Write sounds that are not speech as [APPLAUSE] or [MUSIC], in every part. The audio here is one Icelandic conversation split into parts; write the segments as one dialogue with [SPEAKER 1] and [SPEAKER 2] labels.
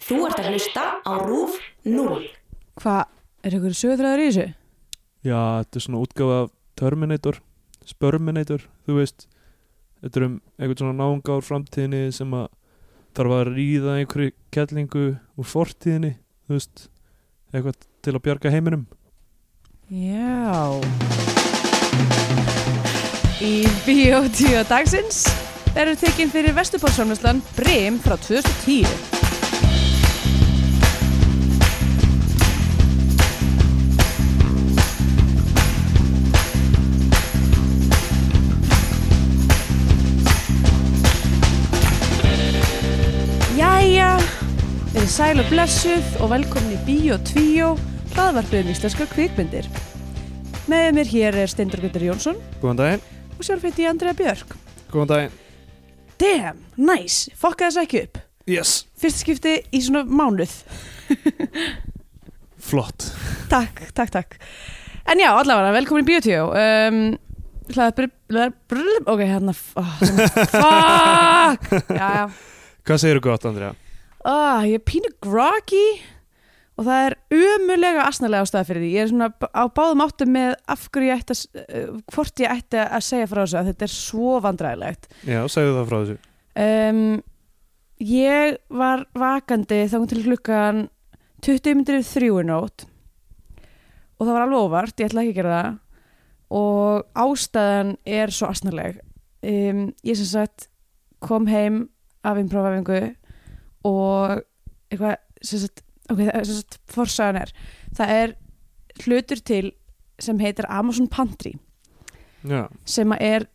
[SPEAKER 1] Þú ert að hlusta á RÚF 0.
[SPEAKER 2] Hvað, er ykkur sögurþræður í þessu?
[SPEAKER 3] Já, þetta er svona útgáfa af Terminator, Spurminator, þú veist Þetta er um einhvern svona náunga úr framtíðinni sem að þarf að ríða einhverju kellingu úr fortíðinni, þú veist eitthvað til að bjarga heiminum
[SPEAKER 2] Já Í Bíótíu dagsins erum tekinn fyrir Vesturbórsframlislan Brim frá 2010 Jæja, verið sæl og blessuð og velkomin í Bíótíu hlaðvarpið um íslenska kvikmyndir Með mér hér er Steindur Guður Jónsson
[SPEAKER 3] Góðan daginn
[SPEAKER 2] og sjálf heiti ég Andrea Björk
[SPEAKER 3] Góðan daginn
[SPEAKER 2] Damn, nice, fokka þess ekki upp
[SPEAKER 3] Yes
[SPEAKER 2] Fyrsta skipti í svona mánuð
[SPEAKER 3] Flott
[SPEAKER 2] Takk, takk, takk En já, allavega, velkomin í Bíotjó um, Hlaðar brr, Ok, hérna oh, Fuck Já, já
[SPEAKER 3] Hvað segirðu gott, Andrea?
[SPEAKER 2] oh, Ég er pínu groggy Og það er umulega asnalega ástæða fyrir því Ég er svona á báðum áttum með af hverju ég ætti að, s- eh, hvort ég ætti að segja frá þessu að þetta er svo vandræðilegt
[SPEAKER 3] Já, segðu það frá þessu
[SPEAKER 2] um, ég var vakandi þangum til klukkan 20 myndir yfir þrjú í nótt og það var alveg óvart, ég ætla ekki að gera það og ástæðan er svo asnaleg um, ég sem sagt kom heim af imprófafingu og eitthvað sem sagt, ok, það er sem sagt forsagan er, það er hlutur til sem heitir Amazon Pantry
[SPEAKER 3] Já,
[SPEAKER 2] sem að er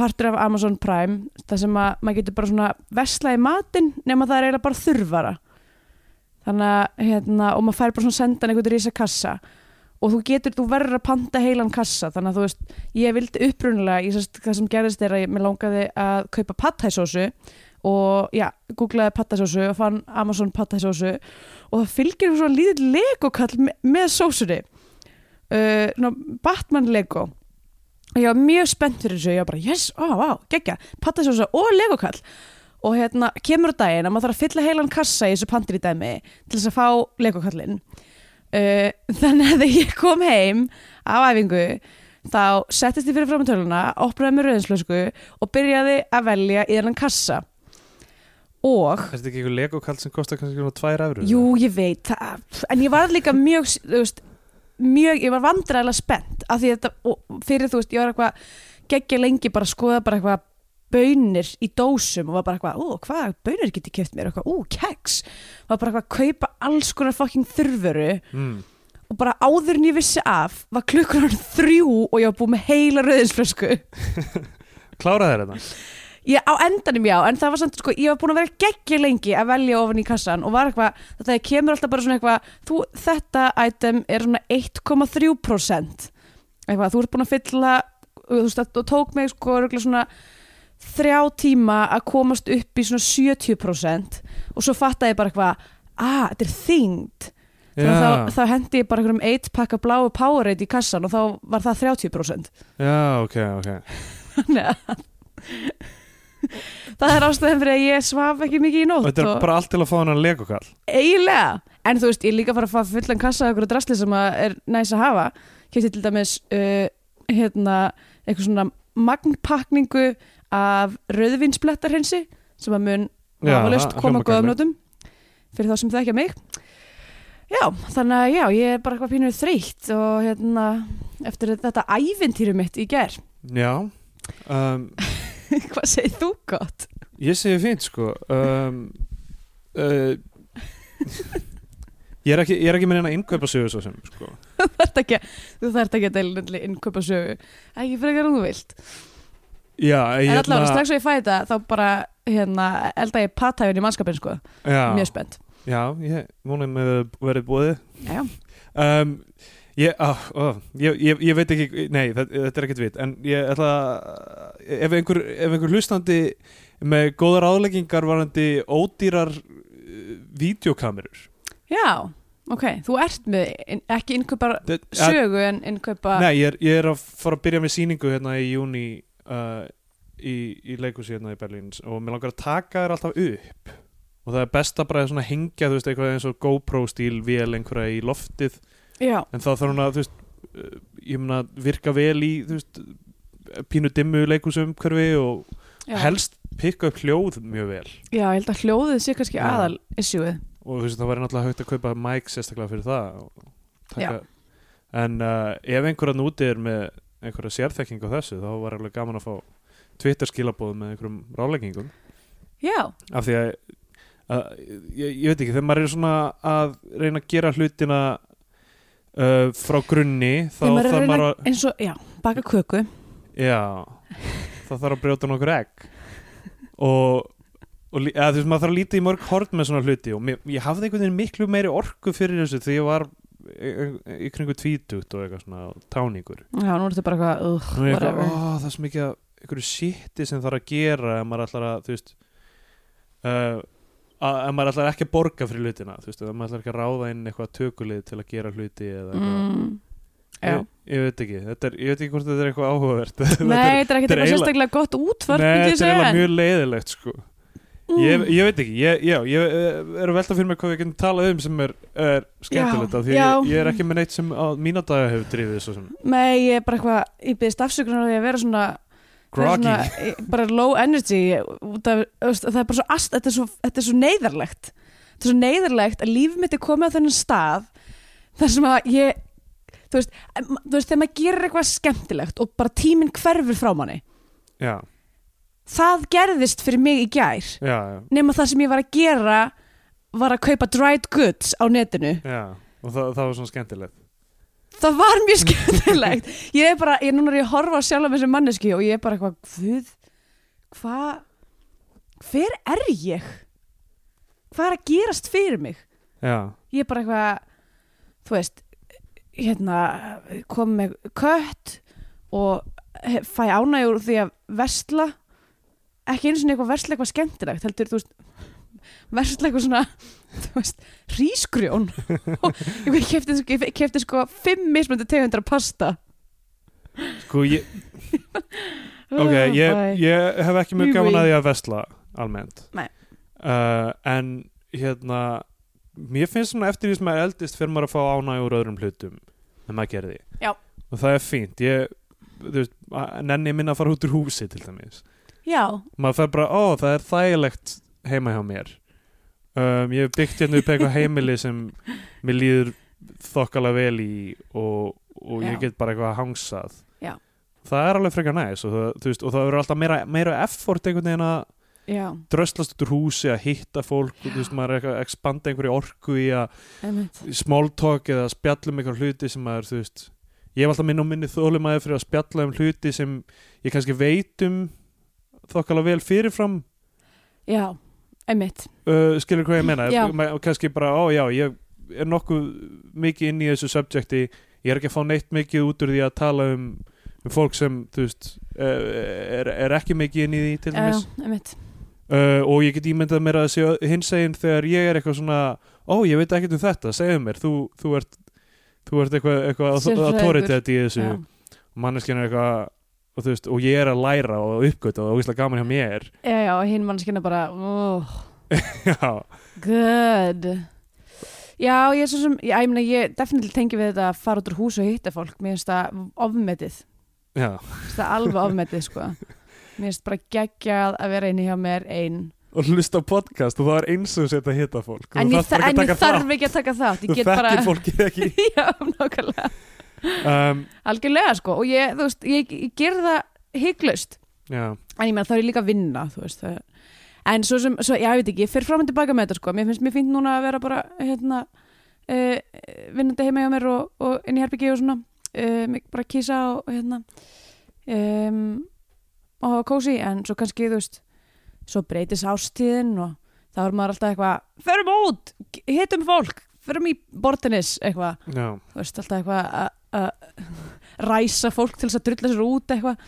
[SPEAKER 2] partur af Amazon Prime það sem að maður getur bara svona vesla í matinn nema það er eiginlega bara þurfara þannig að hérna og maður fær bara svona sendan einhvern rísa kassa og þú getur, þú verður að panta heilan kassa þannig að þú veist, ég vildi upprunulega ég sérst, það sem gerðist er að ég mér langaði að kaupa pattæsósu og já, googlaði pattæsósu og fann Amazon pattæsósu og það fylgir svona lítið legokall me með sósunni uh, ná, Batman Lego og ég var mjög spennt fyrir þessu ég var bara, yes, ó, vá, geggja pattasósa og legokall og hérna, kemur á daginn að maður þarf að fylla heilan kassa í þessu pantri dæmi til þess að fá legokallin uh, þannig að þegar ég kom heim af æfingu þá settist ég fyrir fram töluna opnaði mér rauðinslösku og byrjaði að velja í þennan kassa og
[SPEAKER 3] er þetta ekki einhver legokall sem kostar kannski svona tvær efru?
[SPEAKER 2] Jú, ég veit það, en ég var líka mjög, þú veist, mjög, ég var vandræðilega spennt af því að þetta, og fyrir þú veist, ég var eitthvað geggja lengi bara að skoða bara eitthvað bönir í dósum og var bara eitthvað, ó, hvað, bönir geti keft mér, eitthvað, ó, keks, var bara eitthvað að kaupa alls konar fucking þurfuru
[SPEAKER 3] mm.
[SPEAKER 2] og bara áður en ég vissi af var klukkur hann þrjú og ég var búið með heila rauðinsflösku.
[SPEAKER 3] Klára þér þetta?
[SPEAKER 2] Ég, á endanum já, en það var samt sko, ég var búin að vera geggja lengi að velja ofan í kassan og var eitthvað, þetta kemur alltaf bara svona eitthvað þú, þetta item er svona 1,3% eitthvað, þú ert búin að fylla þú veist, það tók mig sko örugglega svona þrjá tíma að komast upp í svona 70% og svo fattaði ég bara eitthvað ah, þetta er þyngd þannig að
[SPEAKER 3] Já,
[SPEAKER 2] þá, þá hendi ég bara einhverjum 1 pakka bláu Powerade í kassan og þá var það 30%
[SPEAKER 3] já, ok, ok
[SPEAKER 2] Þannig að Það er ástæðan fyrir að ég svaf ekki mikið í
[SPEAKER 3] Og
[SPEAKER 2] nótt
[SPEAKER 3] þetta er
[SPEAKER 2] og
[SPEAKER 3] bara allt til að fá hennan legokall
[SPEAKER 2] eiginlega En þú veist, ég er líka að fara að fá fullan kassa af einhverju drasli sem að er næs að hafa Kefti til dæmis uh, hérna, eitthvað svona magnpakningu af rauðvinsblettarhensi sem að mun
[SPEAKER 3] Já,
[SPEAKER 2] vafalaust
[SPEAKER 3] það
[SPEAKER 2] koma
[SPEAKER 3] hljómar gaman.
[SPEAKER 2] góðum nótum fyrir þá sem það ekki að mig Já, þannig að já, ég er bara eitthvað pínuð þreytt og hérna, eftir þetta ævintýru mitt í gær [LAUGHS]
[SPEAKER 3] Já um,
[SPEAKER 2] Hvað segir þú gott?
[SPEAKER 3] Ég segi fínt sko um, uh, [LAUGHS] Ég er ekki, ég er ekki með neina innkaupa sögur svo sem sko.
[SPEAKER 2] þarft ekki, þú þarft ekki að deilindli innkaupa sögu, ekki frekar en þú vilt
[SPEAKER 3] Já, ég hérna,
[SPEAKER 2] en allavega strax og ég fæ þetta þá bara hérna, elda ég pattæfin í mannskapin sko,
[SPEAKER 3] já,
[SPEAKER 2] mjög spennt
[SPEAKER 3] já, ég múnum með verið búið
[SPEAKER 2] já, já.
[SPEAKER 3] um, ég, á, ó, ég, ég, ég veit ekki Nei, þetta, þetta er ekkert vit En ég ætla að Ef einhver, ef einhver hlustandi með góðar áleggingar varandi ódýrar uh, vídeokamerur
[SPEAKER 2] já, ok, þú ert með in, ekki innkaupa
[SPEAKER 3] Þetta-
[SPEAKER 2] sögu en innkaupa
[SPEAKER 3] Nei, ég er, ég er að fara að byrja með sýningu hérna í júni uh, í, í leikhúsi hérna í Berlín og mér langar að taka þér alltaf upp og og það er best að bara svona hengja þú veist eitthvað eins og GoPro stíl vél einhverja í loftið
[SPEAKER 2] já,
[SPEAKER 3] en það þarf hún að þú veist eh, ég meina virka vel í þú veist pínu dimmu leikusumhverfi og
[SPEAKER 2] já.
[SPEAKER 3] helst pikka upp hljóð mjög vel
[SPEAKER 2] já, ég held að hljóðið sé kannski
[SPEAKER 3] Já.
[SPEAKER 2] aðal issueð
[SPEAKER 3] og þú veist það væri náttúrulega hægt að kaupa mic sérstaklega fyrir það og taka, en uh, ef einhverja núti er með einhverja sérþekking á þessu þá var alveg gaman að fá Twitter skilabóð með einhverjum ráleggingum
[SPEAKER 2] já,
[SPEAKER 3] af því að, að ég, ég veit ekki, þegar maður er svona að reyna að gera hlutina uh, frá grunni þá
[SPEAKER 2] þegar maður er
[SPEAKER 3] þarf
[SPEAKER 2] að
[SPEAKER 3] maður
[SPEAKER 2] reyna
[SPEAKER 3] að
[SPEAKER 2] eins og, já, baka köku
[SPEAKER 3] Já, það þarf að brjóta nokkur egg og, og lí- eða, þú veist, maður þarf að líta í mörg hort með svona hluti og mér, ég hafði einhvern veginn miklu meiri orku fyrir þessu því ég var í, í kringu tvítugt og eitthvað svona og táningur
[SPEAKER 2] já, nú er þetta bara eitthvað, ugh,
[SPEAKER 3] Nú er ég eitthvað,
[SPEAKER 2] whatever
[SPEAKER 3] ó, það er svo mikið af einhverju shiti sem þarf að gera ef maður ætlar að, þú veist uh, að, ef maður ætlar ekki að borga fyrir hlutina, þú veist, ef maður ætlar ekki að ráða inn eitthvað tökulið til að gera hluti eða eitthvað
[SPEAKER 2] mm, já
[SPEAKER 3] ég, ég veit ekki, þetta er, ég veit ekki hvort þetta er eitthvað áhugavert [LAUGHS] Þetta er-
[SPEAKER 2] Nei, þetta er ekkert
[SPEAKER 3] þetta er
[SPEAKER 2] eitthvað
[SPEAKER 3] eiginlega-
[SPEAKER 2] sérstaklega gott útvörp
[SPEAKER 3] Nei,
[SPEAKER 2] myndi ég
[SPEAKER 3] þetta er
[SPEAKER 2] segja,
[SPEAKER 3] eiginlega
[SPEAKER 2] en-
[SPEAKER 3] mjög leiðilegt sko. ég,
[SPEAKER 2] Mm.
[SPEAKER 3] ég veit ekki, ég, já, ég eh, er að velta fyrir mér hvað við getum talað um sem er, er
[SPEAKER 2] Já,
[SPEAKER 3] skemmtilegt af því
[SPEAKER 2] já.
[SPEAKER 3] ég, ég er ekki með neitt sem á mína daga hefur drifið svo sem
[SPEAKER 2] Nei, ég er bara eitthvað, ég byrðist afsökunar á því að vera svona vera
[SPEAKER 3] groggy
[SPEAKER 2] svona, ég- bara low energy út af, veist, það er bara svo, ast, þetta, er svo þetta er svo neyðarlegt þetta er svo neyðarlegt að líf mitt er komið á þennan stað þar sem að ég þú veist, em, þú veist þegar maður gerir eitthvað skemmtilegt og bara tíminn hverfur frá manni
[SPEAKER 3] já,
[SPEAKER 2] það gerðist fyrir mig í gær
[SPEAKER 3] já, já,
[SPEAKER 2] nema það sem ég var að gera var að kaupa dried goods á netinu
[SPEAKER 3] já og það, það var svona skemmtilegt
[SPEAKER 2] það var mjög skemmtilegt ég er bara, ég núna er ég að horfa á sjálf með þessi manneski og ég er bara eitthvað, guð hvað hver er ég hvað er að gerast fyrir mig
[SPEAKER 3] já,
[SPEAKER 2] ég er bara eitthvað þú veist, hérna kom með kött og he- fæ ánægjur því að vesla ekki einu sinni eitthvað versla eitthvað skemmtilegt heldur, þú veist versla eitthvað svona [LAUGHS] þú veist,
[SPEAKER 3] [LAUGHS]
[SPEAKER 2] hrísgrjón og ég kefti, ég kefti sko fimm mismöndu tegundar af pasta
[SPEAKER 3] sko ég, ok,
[SPEAKER 2] Ah,
[SPEAKER 3] ég, ég hef ekki mjög
[SPEAKER 2] Jú,
[SPEAKER 3] gaman
[SPEAKER 2] jú.
[SPEAKER 3] að því að vesla almennt
[SPEAKER 2] Nei.
[SPEAKER 3] uh, en hérna mér finnst svona eftir því sem maður er eldist fyrir maður að fá ánæg úr öðrum hlutum en maður gerði
[SPEAKER 2] Já.
[SPEAKER 3] og það er fínt ég, þú veist, að- nenni minna að fara út úr húsi til dæmis
[SPEAKER 2] já,
[SPEAKER 3] maður fer bara, ó það er þægilegt heima hjá mér um, ég hef byggt hérna upp eitthvað heimili sem mér líður þokkala vel í og, og ég
[SPEAKER 2] Já.
[SPEAKER 3] get bara eitthvað hangsað
[SPEAKER 2] Já.
[SPEAKER 3] það er alveg frekar næs og það, þú veist, og það verður alltaf meira, meira effort einhvern veginn að
[SPEAKER 2] já,
[SPEAKER 3] dröslast út úr húsi að hitta fólk og þú veist, maður er eitthvað að expanda einhverju orku í að
[SPEAKER 2] einmitt
[SPEAKER 3] small talk eða spjalla um einhverju hluti sem maður, þú veist ég hef alltaf minn og minni þólumæði fyrir að spjalla um hluti sem ég kannski veit um þokkala vel fyrirfram
[SPEAKER 2] já, einmitt
[SPEAKER 3] uh, skilur hvað ég meina
[SPEAKER 2] Já.
[SPEAKER 3] Ma- og kannski bara, ó já, ég er nokkuð mikið inn í þessu subjekti ég er ekki að fá neitt mikið út úr því að tala um, um fólk sem, þú veist eh, er, er ekki mikið inn í því til
[SPEAKER 2] já,
[SPEAKER 3] dæmis
[SPEAKER 2] einmitt
[SPEAKER 3] uh, og ég get ímyndað mér að sé hins einn þegar ég er eitthvað svona ó, ég veit ekkert um þetta, segðu mér þú, þú ert, þú ert eitthvað, eitthvað að
[SPEAKER 2] Sérfræðingur.
[SPEAKER 3] tórið þetta í þessu
[SPEAKER 2] já,
[SPEAKER 3] manneskinn er eitthvað og, þú veist, og ég er að læra og uppgöta og það er ógeðslega gaman hjá mér [LAUGHS]
[SPEAKER 2] já, já, hinn mannskina bara oh,
[SPEAKER 3] já,
[SPEAKER 2] good já, ég er svo sem, já, ég meina ég definitíli tengi við þetta að fara út úr hús og hitta fólk mér finnst það ofmetið mér
[SPEAKER 3] já
[SPEAKER 2] finnst það alveg ofmetið, sko mér finnst bara geggjað að vera inni hjá mér ein
[SPEAKER 3] og hlusta á podcast og það er eins og þetta að hitta fólk
[SPEAKER 2] en
[SPEAKER 3] þú
[SPEAKER 2] ég,
[SPEAKER 3] þarft
[SPEAKER 2] þa
[SPEAKER 3] bara
[SPEAKER 2] en ég þarf
[SPEAKER 3] ekki að taka
[SPEAKER 2] ekki að taka þátt
[SPEAKER 3] þátt.
[SPEAKER 2] ég get
[SPEAKER 3] þú
[SPEAKER 2] bara
[SPEAKER 3] þekkir fólkið ekki
[SPEAKER 2] [LAUGHS] já, nákvæmlega,
[SPEAKER 3] um,
[SPEAKER 2] algjörlega sko og ég, þú veist, ég, ég ger það hygglaust
[SPEAKER 3] já,
[SPEAKER 2] en ég meina þá er ég líka að vinna þú veist það en svo sem, svo, já, ég veit ekki, ég fer fram og tilbaka með þetta sko, mér finnst mér fínt núna að vera bara hérna, uh, vinnandi heima hjá mér og, og inn í herbyggi og svona uh, bara kísa og hérna um, og hafa kósi, en svo kannski, þú veist svo breytis ástíðin og þá er maður alltaf eitthvað, förum út hittum fólk, förum í bortinis eitthvað,
[SPEAKER 3] já,
[SPEAKER 2] þú veist, alltaf eitthvað að- [LAUGHS] að ræsa fólk til þess að drulla sér út eitthvað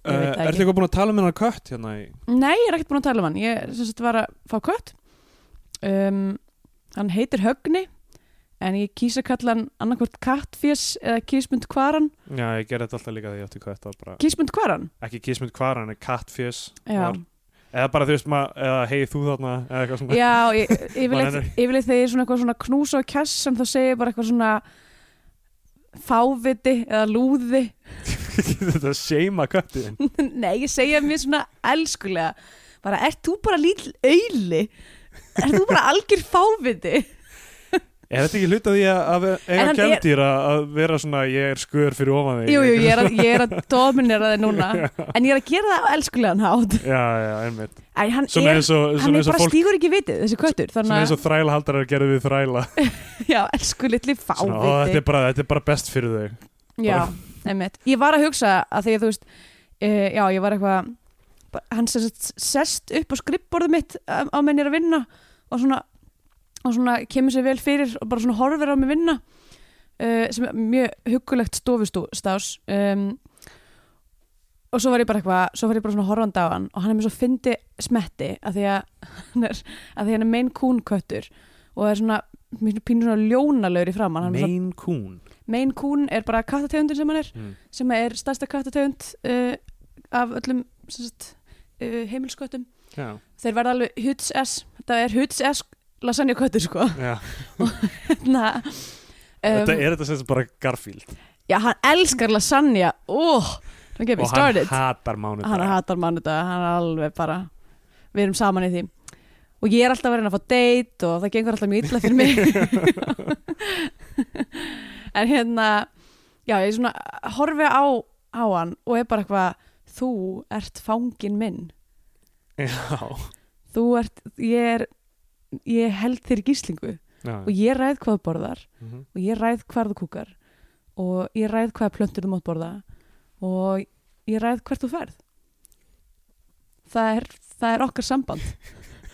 [SPEAKER 2] Ég
[SPEAKER 3] uh,
[SPEAKER 2] veit það ekki.
[SPEAKER 3] ertu eitthvað búin að tala með hennar kött hérna í,
[SPEAKER 2] Nei, ég er ekkert búin að tala um hann Ég sem sagt var að fá kött um, Hann heitir Högni En ég kýsa kalla hann annarkvort kattfjess eða kísmund kvaran
[SPEAKER 3] já, ég gerði þetta alltaf líka þegar ég átti kött það var bara,
[SPEAKER 2] Kísmund kvaran?
[SPEAKER 3] ekki kísmynd hvar, hann er kattfjöss
[SPEAKER 2] Já,
[SPEAKER 3] var, eða bara þú veist maður, eða hei þú þarna eða eitthvað [LAUGHS] svona
[SPEAKER 2] Já, ég- yfirleitt
[SPEAKER 3] Maður er-
[SPEAKER 2] yfirleitt þegar ég er svona eitthvað svona knús og kjass sem þá segir bara eitthvað svona fáviti eða lúði [LAUGHS]
[SPEAKER 3] þetta seima köttin
[SPEAKER 2] Nei, ég segja mér svona elskulega bara, ert þú bara lítil auðli? Ert þú bara algjör fáviti?
[SPEAKER 3] er þetta ekki hlut að því að- að ve- eiga
[SPEAKER 2] En hann er-
[SPEAKER 3] gældir að vera svona ég er skur fyrir ofan þig
[SPEAKER 2] Jú, jú, ég er að, ég er [LAUGHS] að dominera þið núna en ég er að gera það á elskulegan hátt
[SPEAKER 3] já, já, einmitt
[SPEAKER 2] en hann
[SPEAKER 3] svona
[SPEAKER 2] er,
[SPEAKER 3] eins og,
[SPEAKER 2] hann
[SPEAKER 3] svona
[SPEAKER 2] er
[SPEAKER 3] eins og
[SPEAKER 2] bara
[SPEAKER 3] fólk
[SPEAKER 2] stígur ekki vitið þessi köttur,
[SPEAKER 3] svona
[SPEAKER 2] þannig
[SPEAKER 3] eins og þræla haldar að gera við þræla
[SPEAKER 2] að já, elskulitli
[SPEAKER 3] svona, ó, þetta,
[SPEAKER 2] fáviti
[SPEAKER 3] er bara, þetta er bara best fyrir þau
[SPEAKER 2] Já, einmitt. Ég var að hugsa að því að þú veist, uh, já, ég var eitthvað, ba- hann sest, sest upp á skrippborðið mitt á, á menn ég er að vinna og svona, og svona kemur sér vel fyrir og bara svona horfir á mig vinna uh, sem er mjög hugulegt stofustás um, og svo var ég bara eitthvað, svo var ég bara svona horfandi á hann og hann er með svo fyndi smetti að [LAUGHS] því að hann er, að því að hann er mein kúnköttur og er svona, mér finnst pínu svona ljónalögur í framann, hann er svona
[SPEAKER 3] main coon
[SPEAKER 2] Maine Coon er bara kattategundin sem hann er sem er stærsta kattategund uh, af öllum sem sagt, uh, heimilsköttum
[SPEAKER 3] já,
[SPEAKER 2] þeir verða alveg huts s þetta er huts s lasagna köttur sko [LAUGHS]
[SPEAKER 3] já
[SPEAKER 2] Na,
[SPEAKER 3] þetta
[SPEAKER 2] um,
[SPEAKER 3] er þetta sem sagt bara Garfield
[SPEAKER 2] já, hann elskar lasagna oh, don't get me
[SPEAKER 3] og hann
[SPEAKER 2] started
[SPEAKER 3] hatar mánudag
[SPEAKER 2] hann hatar mann þetta, hann er alveg bara við erum saman í því og ég er alltaf að reyna að fá date og það gengur alltaf mjög illa fyrir mig en hérna já, ég svona horfi á, á hann og er bara eitthvað þú ert fangin minn
[SPEAKER 3] já,
[SPEAKER 2] þú ert, ég er ég held þér í gíslingu
[SPEAKER 3] já.
[SPEAKER 2] og ég ræð hvað þú borðar
[SPEAKER 3] Mhm.
[SPEAKER 2] og ég ræð hvað þú kúkar og ég ræð hvað plöntur þú mátt borða og ég ræð hvert þú ferð það er, það er okkar samband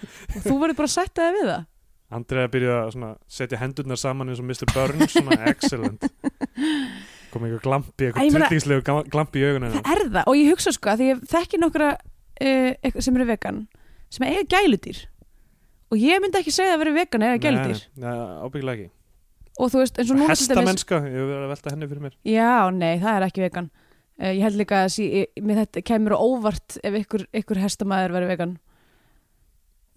[SPEAKER 2] og þú verður bara að sætta þig við það
[SPEAKER 3] Andrið að byrja að svona setja hendurnar saman eins og Mr. Burns svona
[SPEAKER 2] [LAUGHS]
[SPEAKER 3] excellent kom eitthvað glampi,
[SPEAKER 2] Æ, ég
[SPEAKER 3] eitthvað
[SPEAKER 2] meina-
[SPEAKER 3] tryllingslegu gam- glampi í augunum
[SPEAKER 2] það er það og ég hugsa sko að því ég þekki nokkra uh, sem eru vegan sem eiga gæludýr og ég myndi ekki segja að vera vegan eða gæludýr
[SPEAKER 3] Nei, ábyggilega ekki
[SPEAKER 2] og þú veist eins og núna til dæmis-
[SPEAKER 3] Hestamennska, ég hef verið að velta henni fyrir mér
[SPEAKER 2] Já, nei, það er ekki vegan. Uh, ég held líka að sí, ég, mér þetta kemur á óvart ef ykkur, ykkur hestamæður verið vegan.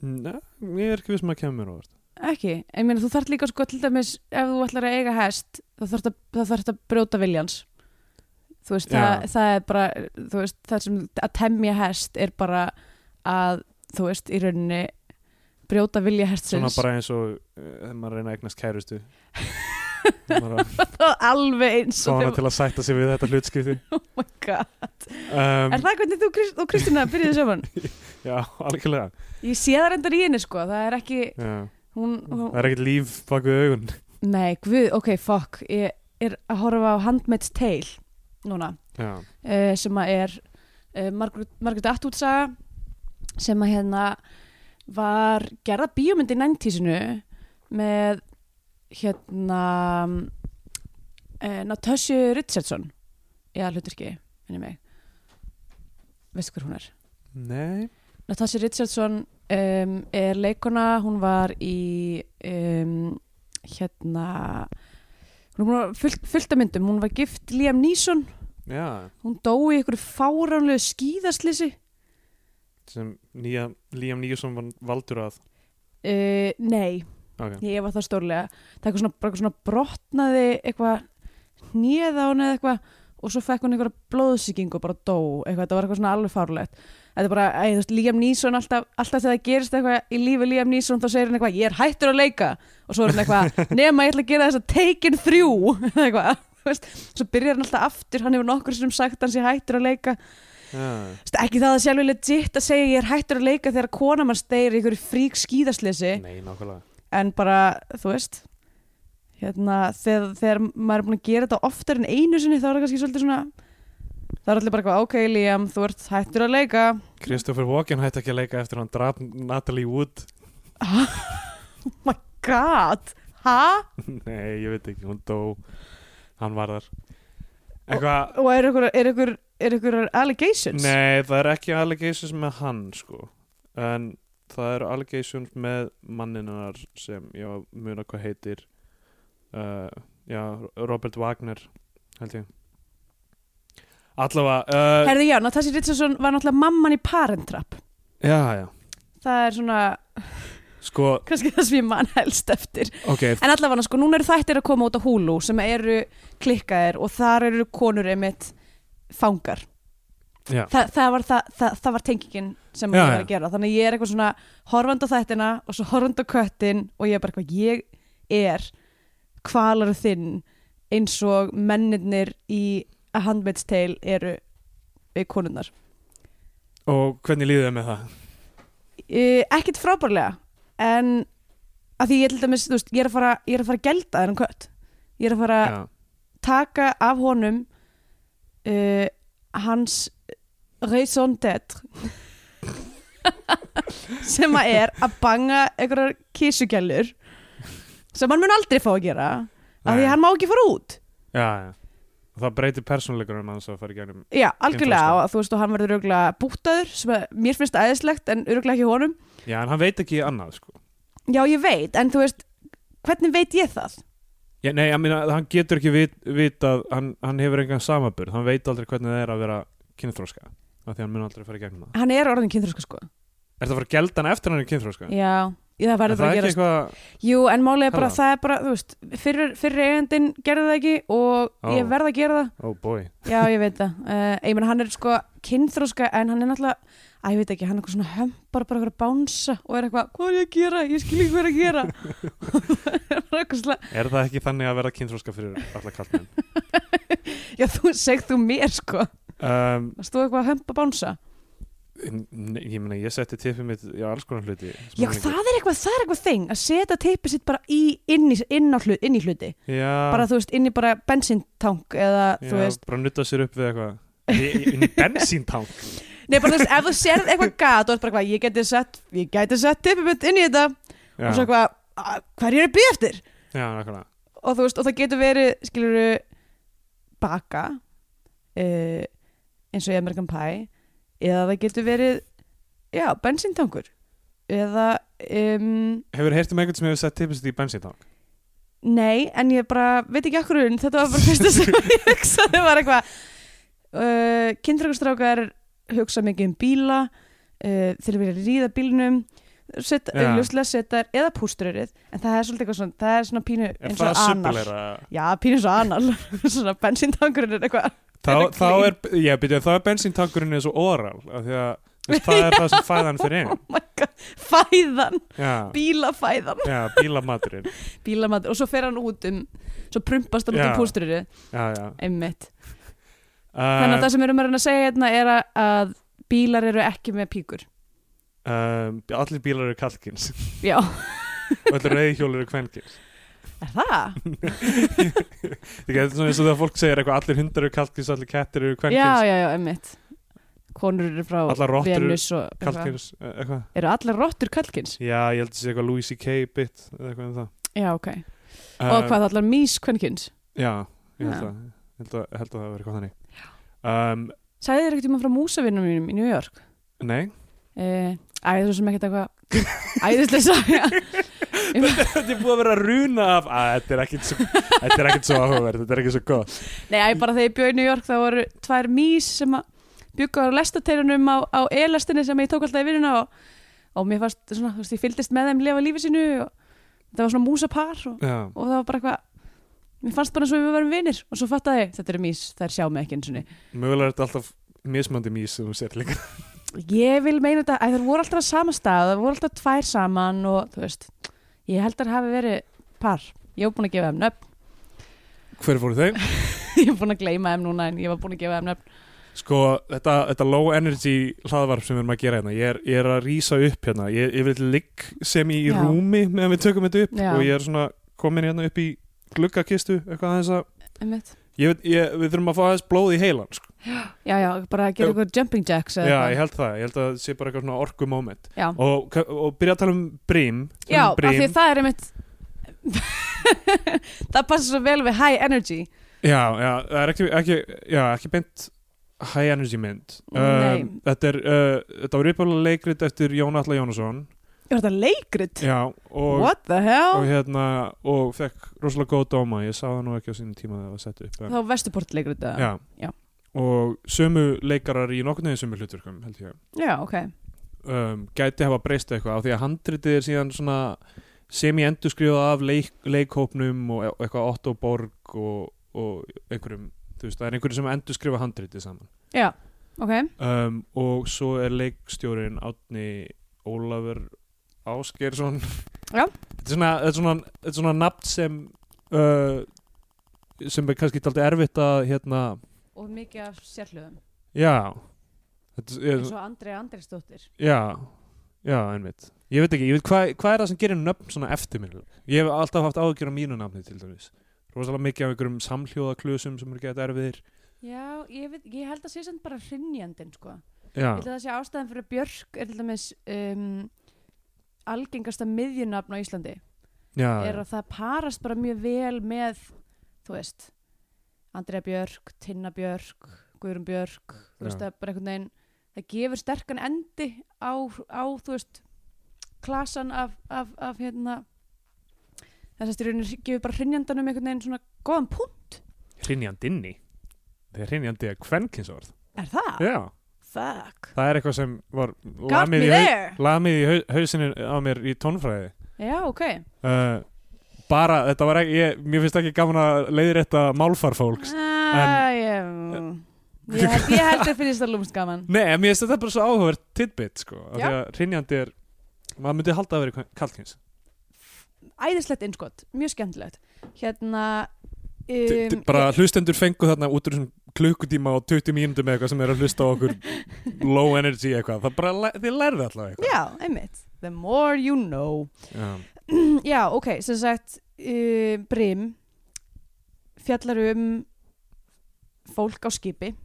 [SPEAKER 3] Nei, ég er ekki viss maður að kemur mér óvart
[SPEAKER 2] Ekki, en mér þú þarf líka sko til dæmis ef þú ætlar að eiga hest þá þarf það, það þarf að brjóta viljans. Þú veist, það,
[SPEAKER 3] Já.
[SPEAKER 2] það er bara, þú veist, það sem að temja hest er bara að, þú veist, í rauninni brjóta vilja
[SPEAKER 3] Svona
[SPEAKER 2] hestsins.
[SPEAKER 3] bara eins og eh, þegar maður reyna að eignast kærustu Þegar maður að
[SPEAKER 2] [LAUGHS] Alveg eins
[SPEAKER 3] Svo
[SPEAKER 2] og
[SPEAKER 3] hana
[SPEAKER 2] þeim,
[SPEAKER 3] til að sætta sig við þetta hlutskipti
[SPEAKER 2] oh my god.
[SPEAKER 3] um,
[SPEAKER 2] Er það hvernig þú, Krist- þú Kristina byrjuði
[SPEAKER 3] [LAUGHS]
[SPEAKER 2] saman?
[SPEAKER 3] Já, algjörlega
[SPEAKER 2] Ég sé það reyndar í henni sko, það er ekki,
[SPEAKER 3] já.
[SPEAKER 2] hún, hún,
[SPEAKER 3] Það er ekkert líf bak við augun
[SPEAKER 2] Nei, guð, ok, fuck Ég er að horfa á Handmaid's Tale núna,
[SPEAKER 3] Já,
[SPEAKER 2] uh, sem að er uh, Margaret, Margaret Atwood saga sem að hérna var gerða bíómynd í 90-sinu með hérna uh, Natasha Richardson eða hluturki, minni mig veistu hver hún er?
[SPEAKER 3] nei
[SPEAKER 2] Natasha Richardson um, er leikona, hún var í um, hérna hún var fullt, fullt af myndum, hún var gift Liam Neeson,
[SPEAKER 3] Já,
[SPEAKER 2] hún dó í einhverju fáránlegu skíðaslýsi
[SPEAKER 3] sem nýja, Liam Neeson var valdur að
[SPEAKER 2] uh, nei,
[SPEAKER 3] okay.
[SPEAKER 2] ég var það stórlega það er eitthvað svona, bara eitthvað svona brotnaði eitthvað nýða hún eða eitthvað og svo fekk hún einhverja blóðsýking og bara dó eitthvað, þetta var eitthvað svona alveg fárlegt þetta er bara, æ, þú veist, Liam Neeson alltaf, alltaf þegar það gerist eitthvað í lífi Liam Neeson þá segir hann eitthvað, ég er hættur að leika og svo er hann eitthvað, nema ég ætla að gera þess að Taken 3 eða [LAUGHS] eitthvað, þú veist, svo byrjar hann alltaf aftur, hann hefur nokkur sem sagt hans ég hættur að leika
[SPEAKER 3] Já,
[SPEAKER 2] Þú veist, ekki það að sjálfur legit að segja ég er hættur að leika þegar konamann steir í einhverju frík skíðaslesi
[SPEAKER 3] nei, nákvæmlega
[SPEAKER 2] en bara, þú veist hérna, þegar, þegar maður er búin að gera þetta oftar en einu sinni þá er það kannski svolítið svona þá er allir bara eitthvað, ok Liam, þú ert hættur að leika
[SPEAKER 3] Kristoffer Walken hætti ekki að leika eftir að hann draf Natalie Wood [LAUGHS]
[SPEAKER 2] my god, ha?
[SPEAKER 3] Nei, ég veit ekki, hún dó Hann var þar Eitthvað,
[SPEAKER 2] og er ykkur, er ykkur, er ykkur allegations?
[SPEAKER 3] nei, það er ekki allegations með hann, sko En það eru allegations með manninar sem, já, muna hvað heitir uh, Já, Robert Wagner, held ég Allavega uh,
[SPEAKER 2] Herði já, Natassi Richardson var náttúrulega mamman í Parent Trap
[SPEAKER 3] já, já,
[SPEAKER 2] það er svona [LAUGHS]
[SPEAKER 3] sko,
[SPEAKER 2] kannski það sem ég man helst eftir
[SPEAKER 3] ok
[SPEAKER 2] en allavega sko, núna eru þættir að koma út á Hulu sem eru klikkaðir og þar eru konur einmitt fangar
[SPEAKER 3] Já.
[SPEAKER 2] Þa, það, var, það, það, það var tengingin sem
[SPEAKER 3] Já,
[SPEAKER 2] ég var
[SPEAKER 3] já.
[SPEAKER 2] að gera þannig að ég er eitthvað svona horfandi á þættina og svo horfandi á köttin og ég er bara eitthvað ég er kvalar þinn eins og mennirnir í A Handmaid's Tale eru við konunnar
[SPEAKER 3] og hvernig líðið með það?
[SPEAKER 2] uh, ekkert frábærlega en að því ég til dæmis, þú veist, ég er að fara, ég er að fara að gelda þennan kött ég er að fara að
[SPEAKER 3] já,
[SPEAKER 2] taka af honum uh, hans raison d'être [LAUGHS] sem að er að banga einhverjar kísugjallur sem hann mun aldrei fá að gera af því
[SPEAKER 3] Nei.
[SPEAKER 2] hann má ekki fara út
[SPEAKER 3] já, já og það breytir persónleikur um hans að fara í gegnum
[SPEAKER 2] já, algjörlega,
[SPEAKER 3] Kynþroska.
[SPEAKER 2] og, þú veist, og hann verður örgulega bútaður sem að mér finnst æðislegt en örgulega ekki honum
[SPEAKER 3] já, en hann veit ekki annað, sko
[SPEAKER 2] já, ég veit, en þú veist hvernig veit ég það?
[SPEAKER 3] Já, nei, ég meina, hann getur ekki vit, vitað, hann, hann hefur engan samaburð, hann veit aldrei hvernig það er að vera kynþróska, af því hann mun aldrei fara í gegnum það.
[SPEAKER 2] hann er orðin kynþroska sko
[SPEAKER 3] Er það að fara að gelda hann eftir hann er kynþróska?
[SPEAKER 2] já, ég, það
[SPEAKER 3] er
[SPEAKER 2] verður
[SPEAKER 3] það
[SPEAKER 2] bara að gera
[SPEAKER 3] ekki eitthvað,
[SPEAKER 2] jú, en málið er bara,
[SPEAKER 3] Hello.
[SPEAKER 2] það er bara, þú veist fyrir, fyrir eigandinn gerði það ekki og
[SPEAKER 3] Ó.
[SPEAKER 2] ég verð að gera það,
[SPEAKER 3] oh boy,
[SPEAKER 2] já, ég veit það [LAUGHS] uh, ég meina, hann er sko kynþroska en hann er náttúrulega, að ég veit ekki, hann er eitthvað svona hömpar bara eitthvað að bánsa og er eitthvað hvað er ég að gera, ég skil ekki hvað er að
[SPEAKER 3] [LAUGHS]
[SPEAKER 2] gera [LAUGHS] og það er bara eitthvað svona
[SPEAKER 3] er það ekki þannig að vera kynþróska fyrir alla
[SPEAKER 2] [LAUGHS]
[SPEAKER 3] kallmenn?
[SPEAKER 2] já, þú segð þú mér sko
[SPEAKER 3] um,
[SPEAKER 2] það stóð eitthvað að hömpa bánsa
[SPEAKER 3] nei, ég meina, ég setti tippið mitt í alls konar hluti. sem
[SPEAKER 2] já,
[SPEAKER 3] hann
[SPEAKER 2] það er eitthvað, það er eitthvað þing að setja teipið sitt bara í, inn, í, inn, á hlut, inn í hluti
[SPEAKER 3] getur- Já,
[SPEAKER 2] bara þú veist, inn í bara bensintank eða
[SPEAKER 3] já,
[SPEAKER 2] þú veist,
[SPEAKER 3] bara nutta sér upp við eitthvað. Í- í- Inn
[SPEAKER 2] [LAUGHS]
[SPEAKER 3] í bensíntank.
[SPEAKER 2] nei bara þú veist ef þú sérð eitthvað gat og ert bara eitthvað, ég geti sett ég geti sett tippimitt inn í þetta
[SPEAKER 3] Já,
[SPEAKER 2] og svo eitthvað, "Ah, hvað er ég að býja eftir
[SPEAKER 3] já, nákvæmlega.
[SPEAKER 2] og þú veist, og það getur verið skilur baka uh, eins og í American Pie eða það getur verið já, bensintankur eða um,
[SPEAKER 3] Hefur heyrt um einhvern sem hefur sett tippið sitt í bensíntank?
[SPEAKER 2] Nei, en ég bara veit ekki akkur unn, þetta var bara fyrsta sem
[SPEAKER 3] [LAUGHS]
[SPEAKER 2] ég hugsaði var eitthvað uh, Kindrakustrákar hugsa mikið um bíla uh, þeir vilja ríða bílnum set,
[SPEAKER 3] Já.
[SPEAKER 2] auðljóslega setar eða pústrurið en það er svolítið eitthvað svona, það er svona pínu
[SPEAKER 3] Er
[SPEAKER 2] eins
[SPEAKER 3] það
[SPEAKER 2] og anal
[SPEAKER 3] subbilera?
[SPEAKER 2] Já, pínu eins og anal [LAUGHS] svona bensíntankurinn er eitthvað
[SPEAKER 3] þá,
[SPEAKER 2] Þetta er
[SPEAKER 3] þá
[SPEAKER 2] clean.
[SPEAKER 3] er, já, byrja, þá er bensíntankurinn eins og oral, af því að þú veist, það er það sem fæðan fyrir einn
[SPEAKER 2] oh my god, fæðan,
[SPEAKER 3] já,
[SPEAKER 2] bílafæðan
[SPEAKER 3] já, bílamaturinn
[SPEAKER 2] bílamat og svo fer hann út um svo prumpast hann út
[SPEAKER 3] Já.
[SPEAKER 2] um pústrurið
[SPEAKER 3] já, já
[SPEAKER 2] einmitt Þannig að
[SPEAKER 3] uh,
[SPEAKER 2] það sem við erum að reyna að segja hérna er að, að bílar eru ekki með píkur.
[SPEAKER 3] um, allir bílar eru kalkins
[SPEAKER 2] Já,
[SPEAKER 3] og allir reyðhjólar eru kvenkins
[SPEAKER 2] er það?
[SPEAKER 3] þetta er svona eins og þegar fólk segir eitthvað allir hundar eru kalkins, allir kettir eru
[SPEAKER 2] já,
[SPEAKER 3] kvenkins
[SPEAKER 2] já, já, emmitt. Konur eru frá
[SPEAKER 3] Allar rottur eru
[SPEAKER 2] Venus og eitthvað.
[SPEAKER 3] kalkins, eh, eitthvað
[SPEAKER 2] Eru allar rottur kalkins?
[SPEAKER 3] já, ég held að sé eitthvað Louis C.K. bit eða eitthvað um það
[SPEAKER 2] Já, ok.
[SPEAKER 3] Um,
[SPEAKER 2] og hvað allar mís kvenkins?
[SPEAKER 3] já, ég held
[SPEAKER 2] Já.
[SPEAKER 3] að, held að, held að það veri eitthvað þannig um,
[SPEAKER 2] Sæði þér ekkert um að frá músavinnum mínum í New York?
[SPEAKER 3] nei
[SPEAKER 2] Eh, Æ, það er svo sem ekkert eitthvað [LAUGHS] æðislega saga. Um-
[SPEAKER 3] þetta er búið að vera að runa af að þetta er ekkit svo, þetta er ekkit svo áhugaverð þetta er ekkit svo gott
[SPEAKER 2] Nei, æ, bara þegar ég bjóði í New York þá voru tvær mís sem að bjúkaður á lestateirunum á, á e-lestinni sem ég tók alltaf í vinnuna og, og mér fannst, svona, þú veist, ég fylgdist með þeim lifa lífi sínu og það var svona músapar og
[SPEAKER 3] já,
[SPEAKER 2] og það var bara eitthvað mér fannst bara eins og við varum vinir og svo fattaði ég, þetta eru mís, þær sjá mig ekki eins og
[SPEAKER 3] mögulega er þetta alltaf mismandi mís sem þú sér líka
[SPEAKER 2] ég vil meina þetta, að þær voru alltaf á sama stað þær voru alltaf tvær saman og þú veist ég held að hafi verið par ég var búin að gefa þeim nöfn,
[SPEAKER 3] [LAUGHS]
[SPEAKER 2] [LAUGHS]
[SPEAKER 3] hver voru þeim?
[SPEAKER 2] ég var búin að gleyma þeim núna en ég var búin að gefa þeim nöfn
[SPEAKER 3] sko, þetta, þetta low energy hlaðvarp sem við erum að gera hérna ég er, ég er að rýsa upp hérna ég, ég vil ligg sem í
[SPEAKER 2] Já.
[SPEAKER 3] rúmi meðan við tökum þetta upp
[SPEAKER 2] Já.
[SPEAKER 3] og ég er svona komin hérna upp í gluggakistu eitthvað aðeins að
[SPEAKER 2] Einmitt.
[SPEAKER 3] ég, veit- ég, við þurfum að fá aðeins blóð í heilan sko.
[SPEAKER 2] já já, bara að gera eitthvað jumping jacks
[SPEAKER 3] já,
[SPEAKER 2] eða eitthvað.
[SPEAKER 3] ég held það, ég held að það sé bara eitthvað svona orku moment
[SPEAKER 2] já,
[SPEAKER 3] og, og byrja að tala um brím Tala
[SPEAKER 2] já
[SPEAKER 3] um
[SPEAKER 2] af því það er einmitt [LAUGHS] það passa svo vel við high energy
[SPEAKER 3] Já, já, það er ekki, ekki, já, ekki beint high energy mynd
[SPEAKER 2] Mm. Nei.
[SPEAKER 3] Um, Þetta er, uh, þetta var uppálega leikrit eftir Jón Atla Jónasson
[SPEAKER 2] er þetta leikrit?
[SPEAKER 3] Já, og,
[SPEAKER 2] what the hell?
[SPEAKER 3] og hérna og fekk rosalega góð dóma ég sá það nú ekki á sínum tíma þegar það var sett upp en,
[SPEAKER 2] þá vestuport leikrit eða?
[SPEAKER 3] hérna- já.
[SPEAKER 2] já.
[SPEAKER 3] og sömu leikarar í nokkurniði sömu hlutverkum held ég
[SPEAKER 2] já, ok
[SPEAKER 3] og um, gæti hafa breyst eitthvað á því að handritið er síðan svona sem ég endurskrifa af leik, leikhópnum og e- eitthvað Otto Borg og, og einhverjum þú veist, það er einhverjum sem endurskrifa handritið saman
[SPEAKER 2] já, ok
[SPEAKER 3] um, og svo er leikstjórin Átni Ólafur Ásgersson
[SPEAKER 2] Já.
[SPEAKER 3] þetta er svona, þetta er svona, þetta er svona nafn sem uh, sem er kannski daldið erfitt að hérna,
[SPEAKER 2] og mikið af sérhlöðum
[SPEAKER 3] já þetta er,
[SPEAKER 2] og Andrei Andreisdóttir
[SPEAKER 3] Já, já, einmitt Ég veit ekki, ég veit hvað hva er það sem gerir nöfn svona eftirminnileg Ég hef alltaf haft áhyggjur á mínu nafni til dæmis Rósalega mikið af einhverjum samhljóðaklusum sem eru gett erfiðir
[SPEAKER 2] já, ég, veit, ég held að sé sem bara hrinnjandinn sko.
[SPEAKER 3] Já,
[SPEAKER 2] ég held að það sé ástæðan fyrir að Björk er til dæmis um, algengasta miðjunafn á Íslandi
[SPEAKER 3] já,
[SPEAKER 2] er að það parast bara mjög vel með þú veist Andrea Björk, Tinna Björk Guðrún Björk, þú veist
[SPEAKER 3] Já.
[SPEAKER 2] það er bara einhvern veginn það gefur sterkan endi á, á þú veist klasan af, af, af hérna þess að styrjunir gefur bara hrinjandanum einhvern veginn svona góðan punkt
[SPEAKER 3] hrinjandinni Það er hrinjandi að kvenkinsorð
[SPEAKER 2] er það?
[SPEAKER 3] Já,
[SPEAKER 2] Fuck
[SPEAKER 3] það er eitthvað sem var
[SPEAKER 2] Ah. Got me
[SPEAKER 3] í, hau-
[SPEAKER 2] there
[SPEAKER 3] lamið í hau, hausinu á mér í tónfræði
[SPEAKER 2] Já, ok
[SPEAKER 3] uh, Bara, þetta var ekki, ég, mér finnst ekki gaman að leiðrétta málfarfólks
[SPEAKER 2] Ah, ég, ég held ég held að finnst það lúmst gaman
[SPEAKER 3] Nei, en mér finnst þetta bara svo áhugavert tidbit sko, af
[SPEAKER 2] Já.
[SPEAKER 3] því að hrynjandi er maður myndi halda að vera kallkins
[SPEAKER 2] æðislegt innskott, mjög skemmtilegt hérna
[SPEAKER 3] um,
[SPEAKER 2] um,
[SPEAKER 3] bara hlustendur fengu þarna út úr þessum klukkutíma og 20 mínútum eitthvað sem er að hlusta á
[SPEAKER 2] [LAUGHS]
[SPEAKER 3] okkur low energy eitthvað, það bara, le- þið lærðu alltaf eitthvað
[SPEAKER 2] Já, einmitt The more you know [CLEARS THROAT]
[SPEAKER 3] Já,
[SPEAKER 2] Já, ok, sem sagt uh, Brim fjallar um fólk á skipi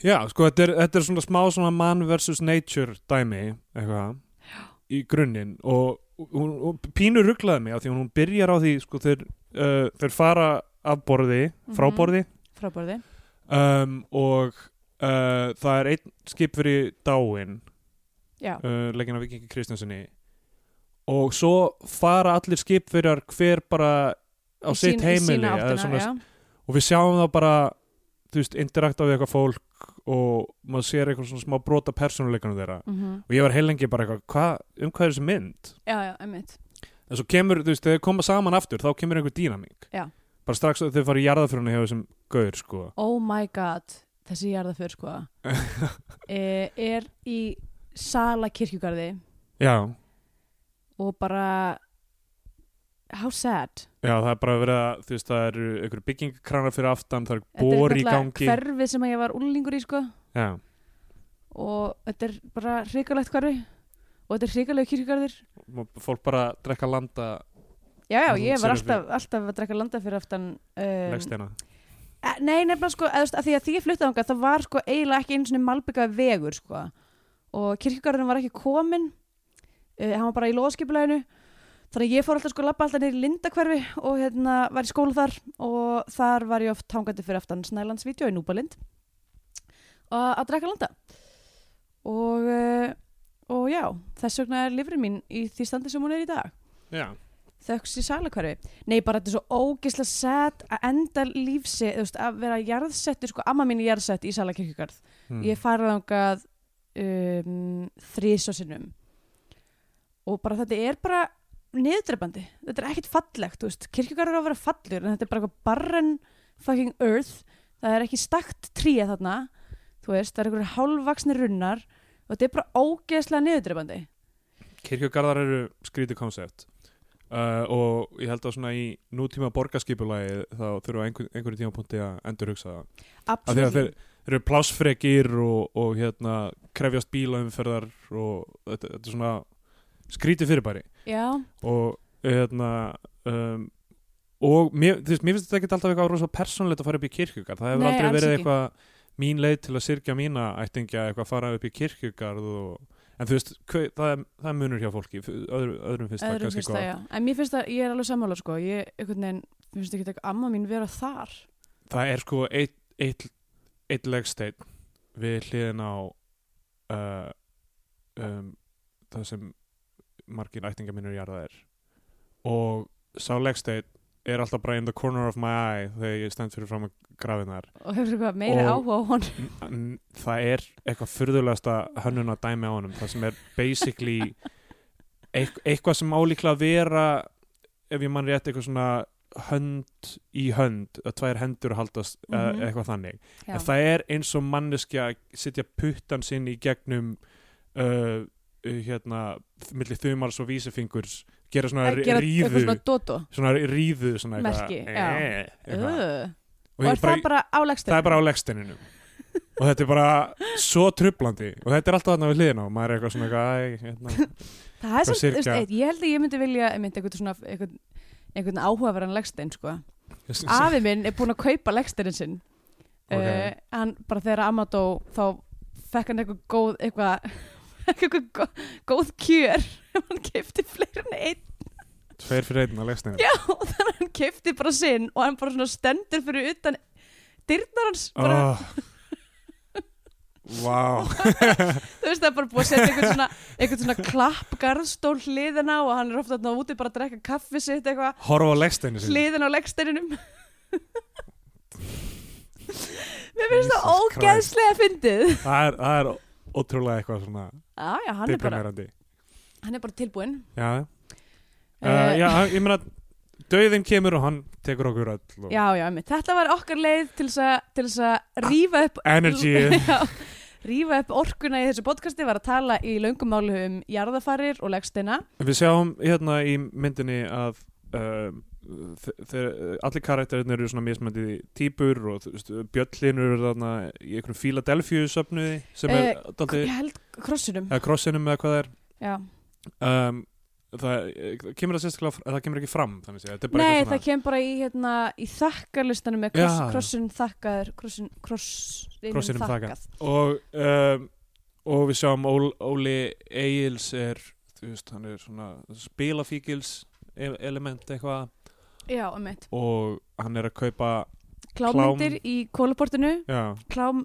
[SPEAKER 3] Já sko, þetta er, þetta er svona smá svona man versus nature dæmi eitthvað, í grunninn og, og, og pínu rugglaði mig af því að hún byrjar á því sko, þeir, uh, þeir fara af borði, frá
[SPEAKER 2] Mhm.
[SPEAKER 3] borði
[SPEAKER 2] frábórði
[SPEAKER 3] um, og uh, það er einn skipveri dáinn
[SPEAKER 2] Já,
[SPEAKER 3] uh, leggin af Vikingi Kristjanssoni og svo fara allir skipverjar hver bara á
[SPEAKER 2] í
[SPEAKER 3] sitt
[SPEAKER 2] sín- í
[SPEAKER 3] heimili
[SPEAKER 2] sína
[SPEAKER 3] eða
[SPEAKER 2] áttina,
[SPEAKER 3] svona,
[SPEAKER 2] já.
[SPEAKER 3] og við sjáum það bara þú veist, interakta við eitthvað fólk og maður sér eitthvað svona smá brota persónuleikanum þeirra
[SPEAKER 2] Mm
[SPEAKER 3] og ég var heilengi bara eitthvað, hva, um hvað er þessi mynd?
[SPEAKER 2] já, já, einmitt
[SPEAKER 3] En svo kemur, þú veist, þegar þau koma saman aftur þá kemur einhver dýnamík
[SPEAKER 2] Já.
[SPEAKER 3] bara strax að þau fara í jarðafrunni hjá þessum gaur sko.
[SPEAKER 2] Oh my god, þessi jarðaför sko
[SPEAKER 3] [LAUGHS]
[SPEAKER 2] eh, er í Sala kirkjugarði
[SPEAKER 3] Já,
[SPEAKER 2] og bara how sad
[SPEAKER 3] já, það er bara verið að þú veist, það eru einhver byggingkranar fyrir aftan
[SPEAKER 2] Þetta
[SPEAKER 3] það eru
[SPEAKER 2] er
[SPEAKER 3] bor í
[SPEAKER 2] náttúrulega
[SPEAKER 3] gangi
[SPEAKER 2] hverfið sem að ég var úlingur í sko
[SPEAKER 3] Já,
[SPEAKER 2] og þetta er bara hrikalegt hverfi og þetta er hrikalegu kirkjugarður
[SPEAKER 3] fólk bara drekka landa
[SPEAKER 2] Já, já,
[SPEAKER 3] Þú
[SPEAKER 2] ég var
[SPEAKER 3] serðu
[SPEAKER 2] alltaf, alltaf að drekka landa fyrir aftan um,
[SPEAKER 3] legsteina
[SPEAKER 2] e- Nei, nefnilega sko, eða, þú veist, að því að því ég flutti þangað það var sko eiginlega ekki einu svona malbyggaði vegur sko. og kirkjugarðurinn var ekki komin uh, hann var bara í loðskipuleginu þannig að ég fór alltaf sko labba alltaf niður í Lindakverfi og hérna var í skóla þar og þar var ég oft hangandi fyrir aftan Snælandsvídeó í Núbalind og að drekka landa og, uh, og já, þess vegna er lifrin mín í því standi sem hún er í dag
[SPEAKER 3] Já,
[SPEAKER 2] þöks í salakverfi nei bara þetta er svo ógislega sett að enda lífsi þú veist, að vera jarðsettur sko amma mín er jarðsett í salakirkjugarð
[SPEAKER 3] mm.
[SPEAKER 2] ég farið þangað um, þrís og sinnum og bara þetta er bara niðurdrepandi, þetta er ekkert fallegt þú veist, kirkjugarður á að vera fallur en þetta er bara eitthvað barren fucking earth það er ekki stakt tríja þarna þú veist, það er einhverju hálfvaksni runnar og þetta er bara ógeðslega niðurdrepandi
[SPEAKER 3] kirkjugarðar eru skrítið konsept uh, og ég held að svona í nútíma borgarskipulagi þá þurfa á einhver, einhverju tímapunkti að endur hugsa það af því að þeir, þeir eru plásfrekir og, og hérna krefjast bílaumferðar og þetta, þetta er svona skrítið fyrirbæri
[SPEAKER 2] já,
[SPEAKER 3] og hérna um, og mér, þú veist, mér finnst þetta ekki alltaf eitthvað rosa persónlegt að fara upp í kirkjugarð það hefur
[SPEAKER 2] Nei,
[SPEAKER 3] aldrei
[SPEAKER 2] alls
[SPEAKER 3] verið
[SPEAKER 2] ekki.
[SPEAKER 3] eitthvað mín leið til að syrkja mína ættingja eitthvað að fara upp í kirkjugarð og, en þú veist, hver, það, er, það er munur hjá fólki F- öðru, öðrum finnst það
[SPEAKER 2] öðrum
[SPEAKER 3] kannski
[SPEAKER 2] finnst það,
[SPEAKER 3] eitthvað
[SPEAKER 2] já. En mér finnst það, ég er alveg sammála, sko. Ég, einhvern veginn, mér finnst ekki að amma mín vera þar.
[SPEAKER 3] það er sko eitt, eitt, eitt legsteinn við hliðin á uh, um, það sem margir ættinga mínur jarða er og sá legsteinn er alltaf bara in the corner of my eye þegar ég stend fyrir fram að grafinar
[SPEAKER 2] og hefur eitthvað meira
[SPEAKER 3] Og-
[SPEAKER 2] áhuga á hon
[SPEAKER 3] N- það er eitthvað fyrðulegasta hönnun að dæmi á honum það sem er basically eitth eitthvað sem álíkla að vera ef ég mann rétt eitthvað svona hönd í hönd að tvær hendur haldast mm
[SPEAKER 2] Mhm.
[SPEAKER 3] eitthvað þannig
[SPEAKER 2] Já.
[SPEAKER 3] en það er eins og manneskja að sitja puttan sinn í gegnum uh, uh, hérna millir þumals og vísifingurs gera svona
[SPEAKER 2] að gera
[SPEAKER 3] ríðu
[SPEAKER 2] eitthvað
[SPEAKER 3] svona,
[SPEAKER 2] svona dodo
[SPEAKER 3] ríðu svona eitthvað,
[SPEAKER 2] Merki,
[SPEAKER 3] eh,
[SPEAKER 2] já.
[SPEAKER 3] eitthvað.
[SPEAKER 2] Ugh.
[SPEAKER 3] Og
[SPEAKER 2] og
[SPEAKER 3] ég
[SPEAKER 2] er það bara á legstinu
[SPEAKER 3] það er bara á leggsteininum og þetta er bara svo trublandi og þetta er alltaf þarna við hliðina og maður er eitthvað svona eitthvað, æ,
[SPEAKER 2] [LAUGHS]
[SPEAKER 3] hérna.
[SPEAKER 2] það er
[SPEAKER 3] Hvað
[SPEAKER 2] samt, þú veist,
[SPEAKER 3] sirka?
[SPEAKER 2] eitt, ég held að ég myndi vilja einmitt einhvern svona einhvern, einhvern áhugaverðan legstein sko.
[SPEAKER 3] [LAUGHS]
[SPEAKER 2] afi minn er búinn að kaupa legsteinin sinn
[SPEAKER 3] Ok.
[SPEAKER 2] okay. hann bara þegar amma dó þá fekk hann eitthvað góð eitthvað [LAUGHS] eitthvað góð, góð kjör [LAUGHS] hann kefti fleiri en einn
[SPEAKER 3] tveir fyrir einn á leggsteininu
[SPEAKER 2] já, [LAUGHS] og þannig að hann kefti bara sinn og hann bara svona stendur fyrir utan dyrnar hans bara,
[SPEAKER 3] oh. Vá,
[SPEAKER 2] þú veist það er bara búið að setja einhvern svona, einhvern svona klappgarðstól hliðina og hann er ofta þarna úti bara að drekka kaffi sitt eitthvað
[SPEAKER 3] horfa á leggsteinu sinni
[SPEAKER 2] hliðin á
[SPEAKER 3] [LAUGHS]
[SPEAKER 2] leggsteininum Mér finnst það
[SPEAKER 3] Jesus Christ.
[SPEAKER 2] ógeðslega fyndið
[SPEAKER 3] það er, það er ótrúlega eitthvað svona
[SPEAKER 2] Já, já, hann er bara,
[SPEAKER 3] deprimerandi
[SPEAKER 2] hann er bara tilbúinn
[SPEAKER 3] Já, uh,
[SPEAKER 2] Eh,
[SPEAKER 3] já ég meina döðin kemur og hann tekur okkur öll og...
[SPEAKER 2] Já, já, einmitt. þetta var okkar leið til þess að, til þess
[SPEAKER 3] Ah.
[SPEAKER 2] að rífa upp
[SPEAKER 3] Energy.
[SPEAKER 2] [LAUGHS] Já, Rífa upp orkuna í þessu podcasti var að tala í löngumálu um jarðafarir og leggsteina
[SPEAKER 3] Við sjáum hérna í myndinni að uh, þeir, allir karakterinn eru svona mismændi típur og þú veist, bjöllinur eru þarna í einhverjum Philadelphia söfnuði sem er
[SPEAKER 2] Eh, Ég
[SPEAKER 3] dálítið,
[SPEAKER 2] held krossinum
[SPEAKER 3] eða krossinum eða hvað það er
[SPEAKER 2] Já.
[SPEAKER 3] um, það eh, kemur það sérstaklega fr- það kemur ekki fram þannig séð, þetta er bara
[SPEAKER 2] Nei,
[SPEAKER 3] eitthvað
[SPEAKER 2] það kemur bara í, hérna, í þakkarlistanum með kross,
[SPEAKER 3] Já. um
[SPEAKER 2] krossin þakkaður krossin, krossinum,
[SPEAKER 3] Krossinum þakkað.
[SPEAKER 2] þakkað
[SPEAKER 3] og, um, og við sjáum Ól, Óli Egils er, þú veist, hann er svona spilafíkils e- element eitthvað
[SPEAKER 2] Já, um eitt
[SPEAKER 3] og hann er að kaupa
[SPEAKER 2] klámyndir í kólaportinu
[SPEAKER 3] já,
[SPEAKER 2] klám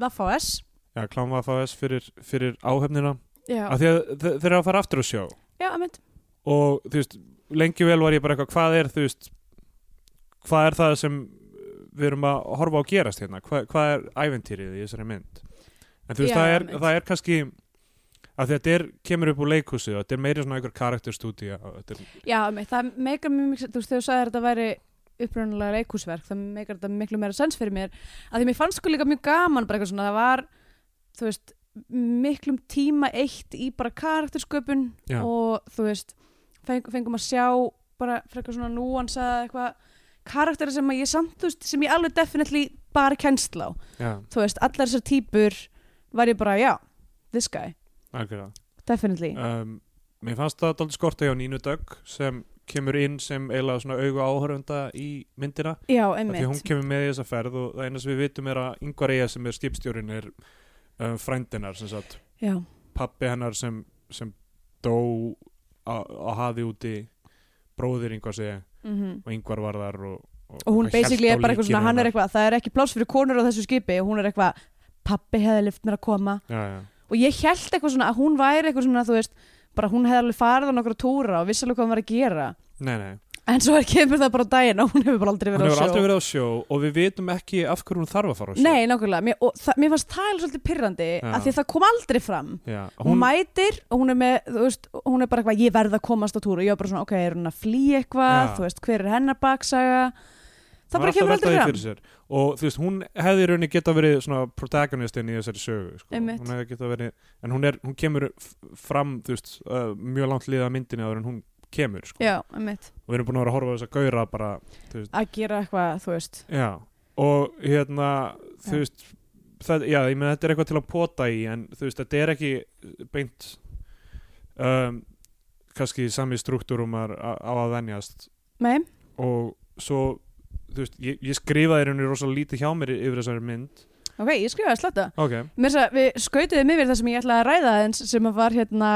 [SPEAKER 2] VFS
[SPEAKER 3] já klámvafaðis fyrir, fyrir áhefnina
[SPEAKER 2] já,
[SPEAKER 3] af því að þe- þeir eru að fara aftur að sjá
[SPEAKER 2] já, emitt
[SPEAKER 3] og þú veist, lengi vel var ég bara eitthvað hvað er þú veist hvað er það sem við erum að horfa á að gerast hérna, hvað, hvað er æventýrið í þessari mynd en þú veist,
[SPEAKER 2] Já,
[SPEAKER 3] það, er,
[SPEAKER 2] einmitt.
[SPEAKER 3] það er kannski að þetta er, kemur upp úr leikhúsið og þetta er meiri svona einhver karakterstúdía og þetta er-
[SPEAKER 2] já, emitt, það meikar mjög mikið þú veist, þegar þú sagðir að þetta væri upprunalega leikúsverk það meikar þetta miklu meira sens fyrir mér að því mér fannst sko líka mjög gaman bara eitthvað svona, það var, þú veist miklum tíma eitt í bara karaktersköpun
[SPEAKER 3] Já.
[SPEAKER 2] og þú veist, feng, fengum að sjá bara frekar svona núansa eitthvað karakteri sem að ég samt, þú veist, sem ég alveg definitely bara kennsla á
[SPEAKER 3] já,
[SPEAKER 2] þú veist, allar þessar típur var ég bara, já, this guy
[SPEAKER 3] algjörða
[SPEAKER 2] Definitely.
[SPEAKER 3] um, Mér fannst það dálítið skorta hjá Nínu Dögg sem kemur inn sem eiginlega svona augu áhörfunda í myndina
[SPEAKER 2] já,
[SPEAKER 3] Af því að hún
[SPEAKER 2] einmitt.
[SPEAKER 3] kemur með í þessa ferð og það eina sem við vitum er að yngvar eiga sem er skipstjórin er um, frændinar sem sagt,
[SPEAKER 2] Já,
[SPEAKER 3] pappi hennar sem, sem dó á á hafi úti bróðir yngvar segi
[SPEAKER 2] mm
[SPEAKER 3] og yngvar var þar og,
[SPEAKER 2] Og hún
[SPEAKER 3] eitthvað
[SPEAKER 2] basically er
[SPEAKER 3] hélt á
[SPEAKER 2] bara eitthvað svona,
[SPEAKER 3] líkinu
[SPEAKER 2] hann er
[SPEAKER 3] hennar.
[SPEAKER 2] eitthvað, það er ekki pláss fyrir konur á þessu skipi og hún er eitthvað, pappi hefði lift mér að koma.
[SPEAKER 3] já, já.
[SPEAKER 2] Og ég held eitthvað svona að hún væri eitthvað svona, þú veist, bara hún hefði alveg farið á nokkra túra og vissi alveg hvað hún var að gera.
[SPEAKER 3] Nei, nei.
[SPEAKER 2] En svo er [LAUGHS] kemur það bara á daginn og hún hefur bara aldrei
[SPEAKER 3] Hún
[SPEAKER 2] verið á
[SPEAKER 3] hefur
[SPEAKER 2] sjó.
[SPEAKER 3] aldrei verið á sjó og við vitum ekki af hverju hún þarf að fara á sjó
[SPEAKER 2] Nei, nákvæmlega. Mér, og það, mér fannst það er svolítið pyrrandi
[SPEAKER 3] Já.
[SPEAKER 2] að því að það kom aldrei fram.
[SPEAKER 3] já,
[SPEAKER 2] Hún, mætir og hún er með, þú veist, hún er bara eitthvað, ég verð að komast á túra. Ég er bara svona, ok, er hún að flýja eitthvað,
[SPEAKER 3] Já.
[SPEAKER 2] þú veist, hver er hennar baksaga? Það
[SPEAKER 3] Maður
[SPEAKER 2] bara kemur
[SPEAKER 3] alltaf
[SPEAKER 2] aldrei fram.
[SPEAKER 3] velta því fyrir sér. og þú veist, hún hefði í rauninni geta verið svona protagonistinn í þessari sögu sko.
[SPEAKER 2] Einmitt.
[SPEAKER 3] hún hefði geta verið, en hún, er, hún kemur f- fram, þú veist, uh, mjög langt liða myndinni áður en hún kemur sko.
[SPEAKER 2] Já, einmitt.
[SPEAKER 3] og við erum búin að vera að horfa á þess að gauðra bara,
[SPEAKER 2] Að gera eitthvað, þú veist.
[SPEAKER 3] já, og hérna
[SPEAKER 2] Já.
[SPEAKER 3] þú veist, það, já, ég meina þetta er eitthvað til að pota í, en þú veist, þetta er ekki beint um, kannski sami struktúrum á að venjast
[SPEAKER 2] Nei,
[SPEAKER 3] og svo þú veist, ég, ég skrifaði henni rosa lítið hjá mér yfir þessari mynd
[SPEAKER 2] ok, ég skrifaði slatta.
[SPEAKER 3] ok,
[SPEAKER 2] Mér þess að við skautuðum yfir það sem ég ætlaði að ræða aðeins sem að var hérna,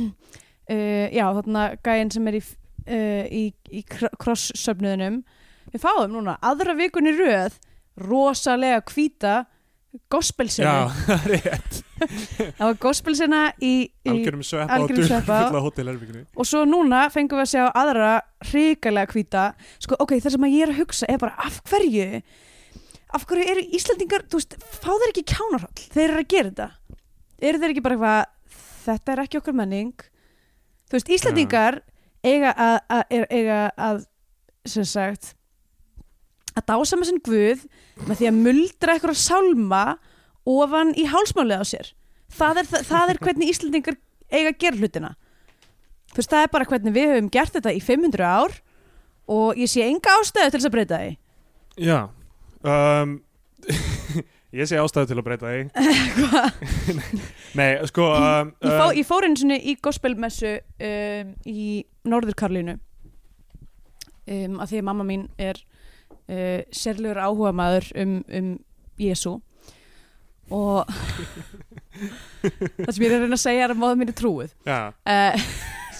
[SPEAKER 2] [CLEARS THROAT] uh, já, þarna gæinn sem er í, uh, í, í kross-söfnuðinum. Við fáum núna aðra
[SPEAKER 3] [LAUGHS]
[SPEAKER 2] vikunni röð rosalega hvíta gospelsinu.
[SPEAKER 3] já, rétt
[SPEAKER 2] það var gospelsina í, í
[SPEAKER 3] algjörum sveppa og
[SPEAKER 2] algjörum
[SPEAKER 3] dull
[SPEAKER 2] sveppa.
[SPEAKER 3] fulla hótelherbygginu
[SPEAKER 2] og svo núna fengum við að sjá aðra hrikalega hvíta sko ok, það sem að ég er að hugsa er bara af hverju af hverju eru Íslandingar þú veist, fá þeir ekki kjánarhall þeir eru að gera þetta eru þeir ekki bara eitthvað, þetta er ekki okkar menning þú veist, Íslandingar eiga að, að, er- eiga að sem sagt að dása með sinn guð með því að muldra eitthvað sálma ofan í hálsmálið á sér það er, það, það er hvernig Íslandingar eiga að gera hlutina þú veist það er bara hvernig við höfum gert þetta í 500 ár og ég sé enga ástæðu til þess að breyta því
[SPEAKER 3] já um, [LAUGHS] ég sé ástæðu til að breyta því nei, sko um,
[SPEAKER 2] ég, fó,
[SPEAKER 3] um,
[SPEAKER 2] ég fór einu sinni í gospelmessu um, í Norður Karlínu um, að því að mamma mín er uh, sérlegur áhuga maður um, um Jésu og [LAUGHS] það sem ég er að reyna að segja er að móða mín er trúið
[SPEAKER 3] um, já,
[SPEAKER 2] uh,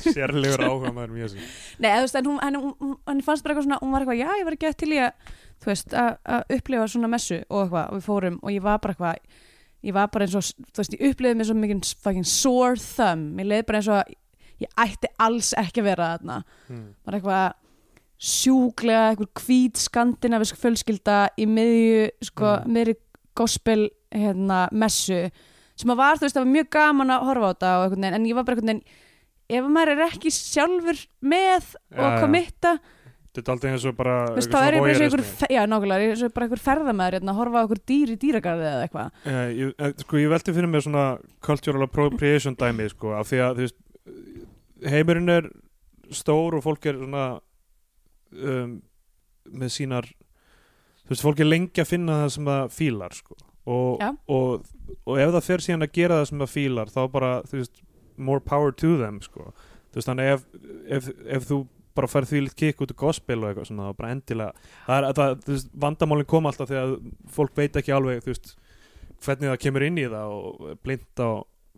[SPEAKER 3] sérlegur áhuga maður mjög sér
[SPEAKER 2] Nei, eða, þú veist, en hún, henni, hún, henni fannst bara eitthvað svona, hún var eitthvað, já, ég var ekki eftir í að, þú veist, að- að upplifa svona messu og eitthvað, og við fórum og ég var bara eitthvað, ég var bara eins og, þú veist, ég upplifaði mig svo mikið fucking sore thumb, ég leiði bara eins og, ég ætti alls ekki að vera þarna,
[SPEAKER 3] hmm.
[SPEAKER 2] var eitthvað sjúklega, eitthvað hvít skandinavisk fjölskylda í miðju, sko,
[SPEAKER 3] Mm.
[SPEAKER 2] miðri gospel, hérna, messu, sem að var, þú veist, það var mjög gaman að horfa á þetta og einhvern veginn, en ég var bara einhvern veginn, ef maður er ekki sjálfur með og
[SPEAKER 3] Já, já.
[SPEAKER 2] að kommitta,
[SPEAKER 3] þetta er aldrei eins og bara
[SPEAKER 2] Þú veist,
[SPEAKER 3] eitthvað
[SPEAKER 2] þá er ég
[SPEAKER 3] svona
[SPEAKER 2] bara eins og
[SPEAKER 3] voyeurismi.
[SPEAKER 2] einhver, fe- já, nákvæmlega, ég er eins og bara einhver ferðamæður hérna að horfa á einhver dýr í dýragarði eða eitthvað.
[SPEAKER 3] Eh, ég, eh, sko ég velti fyrir mér svona cultural appropriation dæmi sko af því að þú veist heimurinn er stór og fólk er svona um, með sínar þú veist fólk er lengi að finna það sem það fílar sko og,
[SPEAKER 2] Já.
[SPEAKER 3] og, og ef það fer síðan að gera það sem það fílar þá bara þú veist more power to them sko þú veist þannig ef, ef, ef þú bara færð því litt kikk út í gospel og eitthvað svona og bara endilega það er, það, þú veist, vandamálin kom alltaf þegar fólk veit ekki alveg þú veist hvernig það kemur inn í það og blinda á,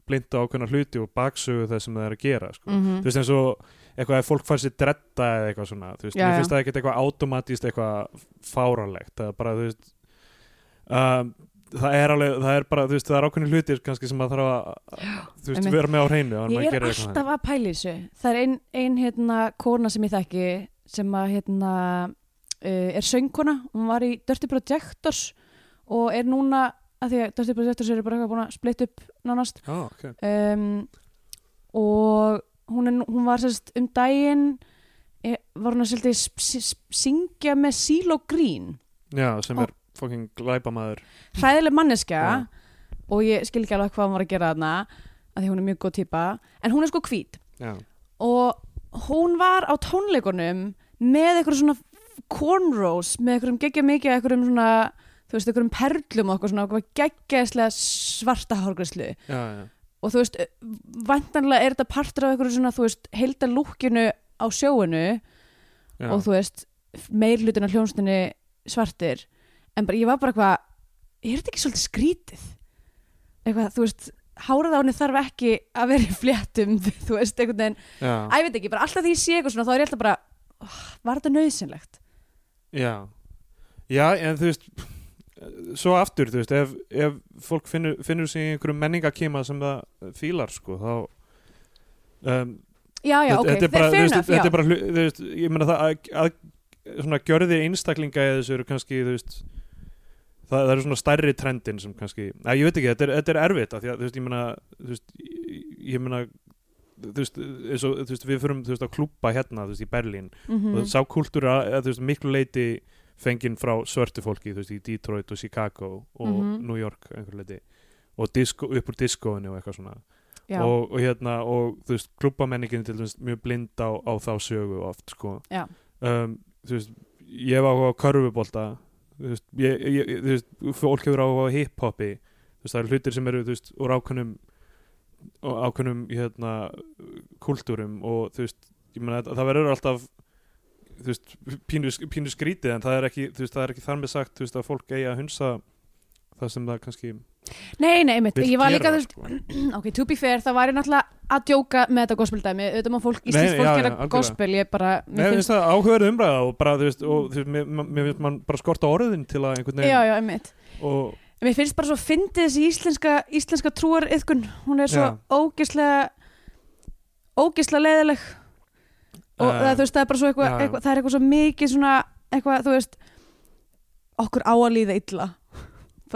[SPEAKER 3] blinda á ákveðna hluti og baksögu það sem það er að gera sko.
[SPEAKER 2] Mm.
[SPEAKER 3] þú veist eins og eitthvað að fólk fær sér dretta eða eitthvað svona þú veist,
[SPEAKER 2] Já,
[SPEAKER 3] mér
[SPEAKER 2] já.
[SPEAKER 3] finnst það ekkert eitthvað automatíst eitthvað fáránlegt það er bara þú veist um, það er alveg, það er bara þú veist það er ákveðni hlutir kannski sem maður þarf að þú veist,
[SPEAKER 2] einmitt.
[SPEAKER 3] vera með á hreinu áður en maður
[SPEAKER 2] Ég er
[SPEAKER 3] gerir eitthvað
[SPEAKER 2] alltaf að pæla í þessu. Það er ein, ein hérna, kona sem ég þekki sem að, hérna, uh, er söngkona, hún var í Dirty Projectors og er núna, að því að Dirty Projectors eru bara eitthvað búin að splitt upp nánast,
[SPEAKER 3] þannig. Ah, okay.
[SPEAKER 2] um, og hún, er, nú- hún var sérst um daginn, eh, var hún að sérst sp- sp- syngja með Silo Green.
[SPEAKER 3] Já, sem er fucking glæpamaður
[SPEAKER 2] hræðileg manneskja
[SPEAKER 3] Já.
[SPEAKER 2] og ég skil ekki alveg hvað hún var að gera þarna af því hún er mjög góð típa en hún er sko hvít
[SPEAKER 3] Já,
[SPEAKER 2] og hún var á tónleikunum með einhverjum svona cornrows með einhverjum geggja mikið af einhverjum svona þú veist, einhverjum perlum og okkur svona okkur geggjaðislega svarta hárgræslu
[SPEAKER 3] já, já
[SPEAKER 2] og þú veist, vantanlega er þetta partur af einhverju svona, þú veist, heilda lúkinu á sjóinu
[SPEAKER 3] Já,
[SPEAKER 2] og þú veist, meir hlutin af hljónstinni svartir en bara, ég var bara eitthvað, er þetta ekki svolítið skrítið? eitthvað, þú veist hárað á henni þarf ekki að vera í fléttum [LAUGHS] þú veist, einhvern veginn,
[SPEAKER 3] já,
[SPEAKER 2] að ég veit ekki bara alltaf því ég sé eitthvað svona, þá er ég alltaf bara oh, var þetta nöðsynlegt?
[SPEAKER 3] já. já, en þú veist svo aftur, þú veist ef, ef fólk finnur, finnur sig í einhverjum menningakima sem það fílar sko, þá um,
[SPEAKER 2] Já, já, ok,
[SPEAKER 3] þetta er bara,
[SPEAKER 2] fair
[SPEAKER 3] þú veist,
[SPEAKER 2] enough,
[SPEAKER 3] þetta
[SPEAKER 2] já
[SPEAKER 3] er bara hlu- þú veist, ég meina það að, að svona gjörðir einstaklinga eða þessu eru kannski þú veist það, það eru svona stærri trendin sem kannski að, ég veit ekki, þetta er, þetta er erfitt af því að, þú veist, ég meina þú veist, ég- ég meina þú veist, eins og, þú veist, við förum þú veist, að klúpa hérna, þú veist, í Berlín
[SPEAKER 2] Mhm.
[SPEAKER 3] og sá kultúra, eða, þú veist, miklu leiti fenginn frá svörtu fólki, þú veist, í Detroit og Chicago og
[SPEAKER 2] Mhm.
[SPEAKER 3] New York einhver leiti, og disco, upp úr diskóinu og eitthvað svona
[SPEAKER 2] já,
[SPEAKER 3] og, og hérna og þú veist klubbamenningin til dæmis mjög blind á, á þá sögu oft sko
[SPEAKER 2] Já.
[SPEAKER 3] um, þú veist ég hef áhuga á körfubólta þú veist, ég, ég, ég- þú veist fólk hefur áhuga á hiphopi þú veist það eru hlutir sem eru þú veist úr ákveðnum og ákveðnum hérna kultúrum og þú veist ég meina það, það verður alltaf þú veist pínu, pínu skrítið en það er ekki þú veist það er ekki þar með sagt þú veist að fólk eigi að hunsa það sem það kannski
[SPEAKER 2] Nei, nei, einmitt,
[SPEAKER 3] vill
[SPEAKER 2] ég var líka þú
[SPEAKER 3] gera,
[SPEAKER 2] veist,
[SPEAKER 3] sko.
[SPEAKER 2] ok, to be fair, það var ég náttúrulega að djóka með þetta gospeldæmi, auðvitað má fólk,
[SPEAKER 3] Nei,
[SPEAKER 2] íslensk fólk
[SPEAKER 3] já, já,
[SPEAKER 2] gera
[SPEAKER 3] algjörlega.
[SPEAKER 2] gospel, ég bara,
[SPEAKER 3] Nei,
[SPEAKER 2] mér
[SPEAKER 3] mér
[SPEAKER 2] finnst,
[SPEAKER 3] finnst það áhugaður umræða og bara, þú veist, og þú veist, mér, mér finnst mann bara skorta orðin til að einhvern
[SPEAKER 2] já,
[SPEAKER 3] veginn
[SPEAKER 2] já, einmitt
[SPEAKER 3] og,
[SPEAKER 2] En mér finnst bara svo fyndið þessi íslenska, íslenska trúariðkun, hún er svo
[SPEAKER 3] Já.
[SPEAKER 2] ógislega ógislega leiðileg og
[SPEAKER 3] Eh,
[SPEAKER 2] það, þú veist, það er bara svo eitthvað,
[SPEAKER 3] já, já.
[SPEAKER 2] eitthvað það er eitthvað svo mikið svona eitthvað, þú veist okkur á að líða illa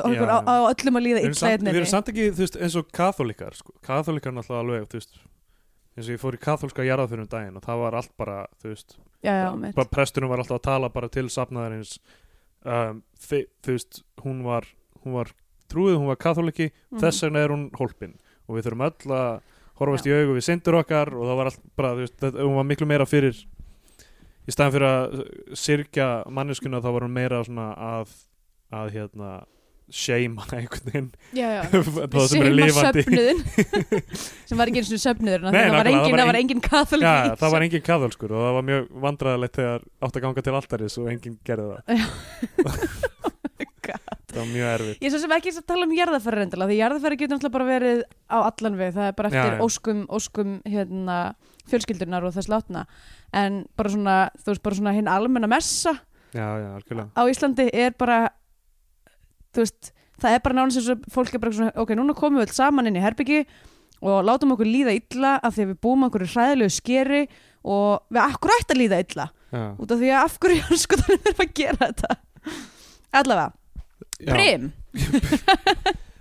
[SPEAKER 2] okkur
[SPEAKER 3] Já,
[SPEAKER 2] á,
[SPEAKER 3] já.
[SPEAKER 2] á öllum að líða
[SPEAKER 3] Við erum,
[SPEAKER 2] illa
[SPEAKER 3] samt, við erum
[SPEAKER 2] einnig
[SPEAKER 3] samt ekki, þú veist, eins og katholikar sko. katholikar náttúrulega alveg, þú veist eins og ég fór í katholska jarðaförum daginn og það var allt bara, þú veist
[SPEAKER 2] já, já, mitt.
[SPEAKER 3] bara presturinn var alltaf að tala bara til safnaðarins um, þi- þú veist, hún var hún var trúið, hún var katholiki
[SPEAKER 2] Mhm.
[SPEAKER 3] þess vegna er hún hólpin og við þurfum öll að horfast í augu við syndur okkar og það var allt bara, þú veist, þetta, hún var miklu meira fyrir í staðan fyrir að sirkja manneskuna þá var hún meira svona að að hérna shame hana einhvern veginn
[SPEAKER 2] já, já.
[SPEAKER 3] [LAUGHS] það sem er lifandi
[SPEAKER 2] söfnuðin
[SPEAKER 3] [LAUGHS]
[SPEAKER 2] sem var ekki eins og söfnuður
[SPEAKER 3] Nei,
[SPEAKER 2] það var
[SPEAKER 3] nákvæmlega,
[SPEAKER 2] engin,
[SPEAKER 3] það var
[SPEAKER 2] það var engin katholik
[SPEAKER 3] Já,
[SPEAKER 2] í
[SPEAKER 3] já, það var engin kaðalskur og það var mjög vandræðilegt þegar átt að ganga til alltaris og enginn gerði það Það var mjög erfitt
[SPEAKER 2] Ég er svo sem ekki að tala um jarðafæri reyndilega því jarðafæri getur náttúrulega bara verið á allan við það er bara eftir
[SPEAKER 3] Já, já.
[SPEAKER 2] óskum, óskum hérna, fjölskyldurnar og þess látna en bara svona, þú veist, bara svona hinn almenna messa
[SPEAKER 3] Já, já, algjörlega
[SPEAKER 2] á Íslandi er bara þú veist, það er bara nánast eins og fólk er bara svona, ok, núna komum við öll saman inn í herbyggi og látum okkur líða illa af því að við búum okkur í hræðilegu skeri og við akkur ætti að líða illa
[SPEAKER 3] já.
[SPEAKER 2] út af því að af hverju hanskotanum er að gera þetta allavega,
[SPEAKER 3] Já.
[SPEAKER 2] prim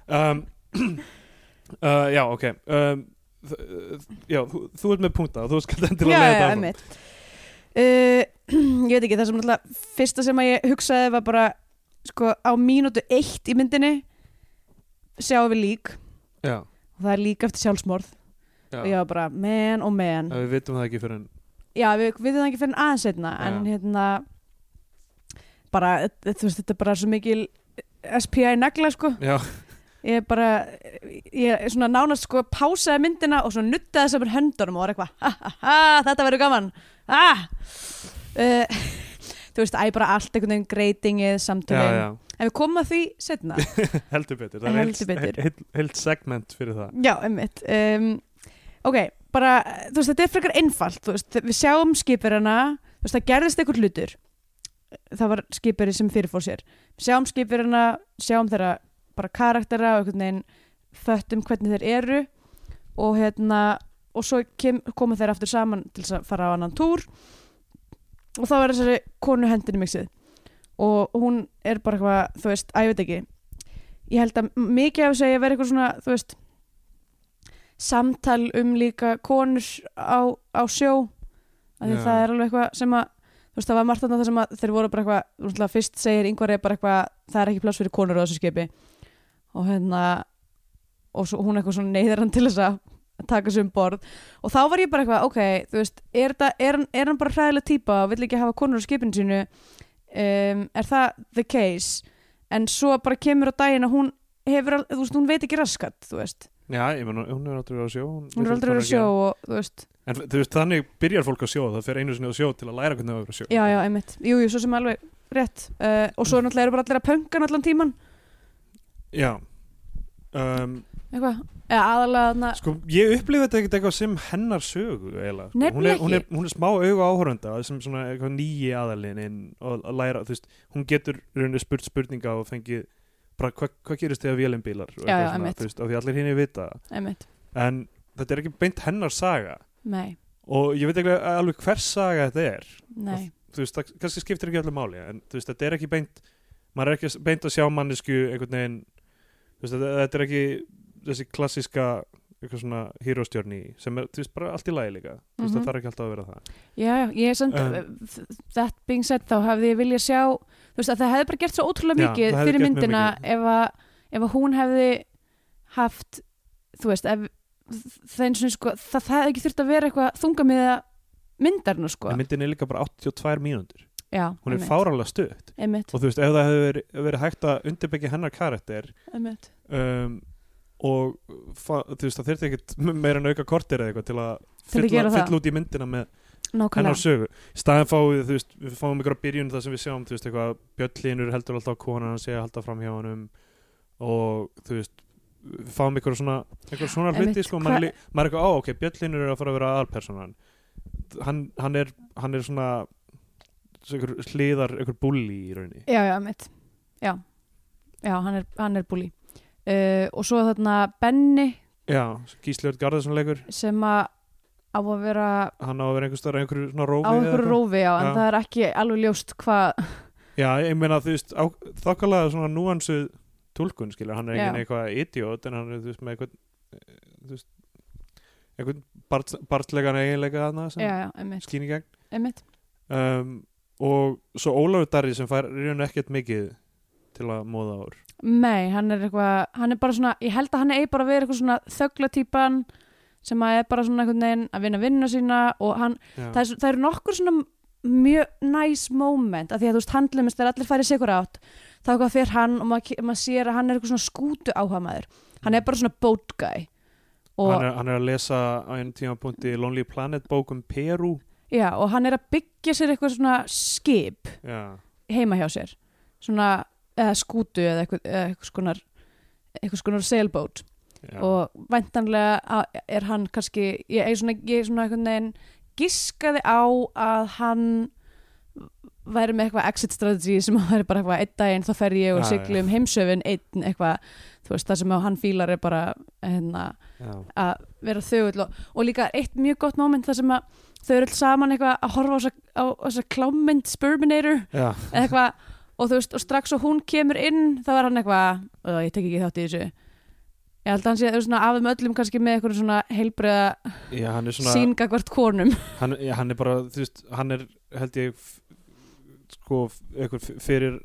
[SPEAKER 3] um, [CLEARS THROAT] uh, Já, ok um, þ- uh, Já, þú, þú ert með punta og þú skalt endilega
[SPEAKER 2] já,
[SPEAKER 3] leiða
[SPEAKER 2] já,
[SPEAKER 3] þetta áfram.
[SPEAKER 2] einmitt. uh, [CLEARS THROAT] ég veit ekki, það sem alltaf fyrsta sem að ég hugsaði var bara sko, á mínútu eitt í myndinni sjáum við lík
[SPEAKER 3] Já,
[SPEAKER 2] og það er lík eftir sjálfsmorð
[SPEAKER 3] já,
[SPEAKER 2] og ég var bara man og man
[SPEAKER 3] Já, Við vitum það ekki fyrir en
[SPEAKER 2] já, við við veitum það ekki fyrir en aðeins einna en
[SPEAKER 3] Já.
[SPEAKER 2] hérna bara, e, þú veist, þetta er bara svo mikil SPI negla, sko
[SPEAKER 3] Já,
[SPEAKER 2] ég bara, ég svona nánast sko pásaði myndina og svona nuttaði saman höndunum og var eitthvað, ha, ha, ha, þetta verður gaman ah! uh, [LAUGHS] þú veist, æ bara allt einhvern veginn greitingið,
[SPEAKER 3] já,
[SPEAKER 2] samtölin
[SPEAKER 3] já,
[SPEAKER 2] en við komum að því setna
[SPEAKER 3] heldur betur Það er
[SPEAKER 2] Heldur betur.
[SPEAKER 3] heilt- heilt- heilt segment fyrir það
[SPEAKER 2] já, emmitt um, ok, bara, þú veist, þetta er frekar einfalt, þú veist, við sjáum skipirana þú veist, það gerðist einhver hlutur það var skipiri sem fyrirfór sér við sjáum skipirana, sjáum þeirra bara karaktera og einhvern veginn föttum hvernig þeir eru og hérna, og svo kem, koma þeir aftur saman til þess að fara á annan túr og þá er þessari konu hendinni mixið og hún er bara eitthvað, þú veist, að ég veit ekki ég held að mikið af þess að ég verið eitthvað svona, þú veist samtal um líka konur á, á sjó að
[SPEAKER 3] Já.
[SPEAKER 2] það er alveg eitthvað sem að þú veist, það var margt þarna þar sem að þeir voru bara eitthvað rústlega, fyrst segir yngvar er bara eitthvað það er ekki pláss fyrir konur á þessu skipi og hérna og svo, hún eitthvað svona neyðir hann til þess að taka sig um borð og þá var ég bara eitthvað, ok, þú veist er, það, er, hann, er hann bara hræðileg típa og vill ekki hafa konur á skipinu sínu um, er það the case en svo bara kemur á daginn að hún hefur, al- þú veist, hún veit ekki raskat þú veist,
[SPEAKER 3] Já, ég menn, hún er aldrei verið á sjó
[SPEAKER 2] hún
[SPEAKER 3] veit
[SPEAKER 2] er aldrei
[SPEAKER 3] hvað
[SPEAKER 2] verið að
[SPEAKER 3] gera.
[SPEAKER 2] sjó og þú veist,
[SPEAKER 3] En þú veist, þannig byrjar fólk að sjó, það fer einu sinni á sjó til að læra hvernig það verður að sjó.
[SPEAKER 2] já, já, einmitt jú, jú, svo sem alveg rétt uh, og svo náttúrulega eru bara allir að pöngan allan tíman
[SPEAKER 3] Já. Um,
[SPEAKER 2] eitthvað, eða aðalega þarna
[SPEAKER 3] sko, ég upplifa þetta ekkert eitthvað sem hennar sögu, eiginlega. Sko. Hún
[SPEAKER 2] Nefnilega
[SPEAKER 3] er, hún, er,
[SPEAKER 2] ekki.
[SPEAKER 3] hún er smá auga áhóranda sem svona eitthvað nýji aðalinn inn og að læra, þú veist, hún getur rauninni spurt spurninga og fengið bara hvað hva gerist þegar vélum bílar og
[SPEAKER 2] Já,
[SPEAKER 3] eitthvað
[SPEAKER 2] já, einmitt.
[SPEAKER 3] þú veist, af því allir hinn vita. það.
[SPEAKER 2] einmitt,
[SPEAKER 3] En þetta er ekki beint hennar saga
[SPEAKER 2] nei,
[SPEAKER 3] og ég veit ekki alveg hvers saga þetta er.
[SPEAKER 2] nei
[SPEAKER 3] þú veist, það kannski skiptir ekki öllu máli en þú veist, þetta er ekki beint maður er ekki að- beint að sjá mannesku einhvern veginn, þú veist, þetta, þetta er ekki þessi klassíska eitthvað svona hýróstjörni sem er, þú veist, bara allt í lagi líka þú veist,
[SPEAKER 2] Mhm.
[SPEAKER 3] það þarf ekki alltaf að vera það
[SPEAKER 2] Já, já, ég er samt,
[SPEAKER 3] Um,
[SPEAKER 2] um, that being said þá hafði ég viljað sjá, þú veist að það hefði bara gert svo ótrúlega
[SPEAKER 3] Já,
[SPEAKER 2] mikið
[SPEAKER 3] það hefði
[SPEAKER 2] fyrir
[SPEAKER 3] gert mjög
[SPEAKER 2] myndina
[SPEAKER 3] mikið.
[SPEAKER 2] ef að, ef að hún hefði haft, þú veist, ef, það, einu sinni, sko, það, það hefði ekki þurft að vera eitthvað þunga með myndarna sko.
[SPEAKER 3] en myndin er líka bara 82 mínútur
[SPEAKER 2] já,
[SPEAKER 3] hún er fárálega stutt
[SPEAKER 2] Einmitt,
[SPEAKER 3] og þú veist, ef það hefur verið, verið hægt að undirbyggja hennar karakter
[SPEAKER 2] einmitt.
[SPEAKER 3] um, og fa, þú veist, það þurfti ekkit meira en auka kortir eða eitthvað til að
[SPEAKER 2] Til að gera
[SPEAKER 3] fylla,
[SPEAKER 2] það.
[SPEAKER 3] fylla út í myndina með hennar
[SPEAKER 2] Nákvæmlega,
[SPEAKER 3] sögu í staðin fáum við, þú veist, við fáum ykkur á byrjun þar sem við sjáum, þú veist, eitthvað Björn Linur heldur alltaf að konan hans sé að halda fram hjá honum og, þú veist við fáum ykkur svona, ykkur svona
[SPEAKER 2] Einmitt,
[SPEAKER 3] hluti sko, maður,
[SPEAKER 2] hva-
[SPEAKER 3] er lí- maður er eitthvað, á, ok, Björn Linur er að fara að vera aðalpersonan hann, hann, er, hann er svona svo ykkur hliðar, ykkur bulli í rauninni
[SPEAKER 2] já, já, einmitt Já, já, hann er, hann er búli uh, og svo þarna Benny
[SPEAKER 3] já, Gísli Örn Garðarsson leikur
[SPEAKER 2] sem að á að vera
[SPEAKER 3] hann á að vera einhvers staðar á einhverju svona rófi
[SPEAKER 2] á
[SPEAKER 3] eða
[SPEAKER 2] einhverju
[SPEAKER 3] eitthvað.
[SPEAKER 2] rófi já, en
[SPEAKER 3] Já.
[SPEAKER 2] það er ekki alveg ljóst hvað
[SPEAKER 3] Já, ég meina þú veist, á, þokkalega svona núansuð tólkun, skilur, hann er
[SPEAKER 2] Já.
[SPEAKER 3] ekki eitthvað idiot, en hann er, þú veist, með eitthvað þú veist, eitthvað bart, bartlegan eiginleika þarna sem
[SPEAKER 2] já, já, einmitt,
[SPEAKER 3] skín í gegn
[SPEAKER 2] einmitt.
[SPEAKER 3] um, og svo Ólafur Darri sem fær raun ekkert mikið til að móða ár
[SPEAKER 2] Nei, hann er eitthvað, hann er bara svona ég held að hann eigi bara að vera eitthvað svona þöglatýpan sem að er bara svona einhvern veginn að vinna vinna sína og hann,
[SPEAKER 3] Já,
[SPEAKER 2] það, er, svo- það eru nokkur svona mjög næs nice moment að því að þú veist handlumist þegar allir færið sigur átt þá eitthvað fyrir hann og maður, ke- maður sér að hann er eitthvað svona skútu áhamaður hann er bara svona boat guy og,
[SPEAKER 3] hann, er, hann er að lesa á einu tímapunkti Lonely Planet bók um Peru
[SPEAKER 2] já, og hann er að byggja sér eitthvað svona skip
[SPEAKER 3] Já,
[SPEAKER 2] heima hjá sér svona eða skútu eða eitthvað, eða eitthvað skonar eitthvað skonar sailboat
[SPEAKER 3] já.
[SPEAKER 2] og væntanlega a- er hann kannski, ég er svona, ég er svona einhvern veginn giskaði á að hann væri með eitthvað exit strategy sem að væri bara eitthvað einn daginn þá fer ég og
[SPEAKER 3] Já,
[SPEAKER 2] sigli
[SPEAKER 3] já.
[SPEAKER 2] um heimsöfin einn eitthvað, þú veist, það sem að hann fílar er bara hérna,
[SPEAKER 3] já.
[SPEAKER 2] að vera þögull og, og líka eitt mjög gott moment þar sem að þau eru alls saman eitthvað að horfa á þessa- á þessa klámynd Sperminator
[SPEAKER 3] já.
[SPEAKER 2] eða eitthvað og þú veist, og strax og hún kemur inn þá er hann eitthvað, "Ö, ég tek ekki þátt í þessu ég held að hann sé, þú veist, svona af þeim öllum kannski með eitthvað svona heilbreiða
[SPEAKER 3] já hann er svona
[SPEAKER 2] síngagvart konum
[SPEAKER 3] hann, já, hann er bara, þú veist, hann er held ég f- sko, f- einhver f- fyrir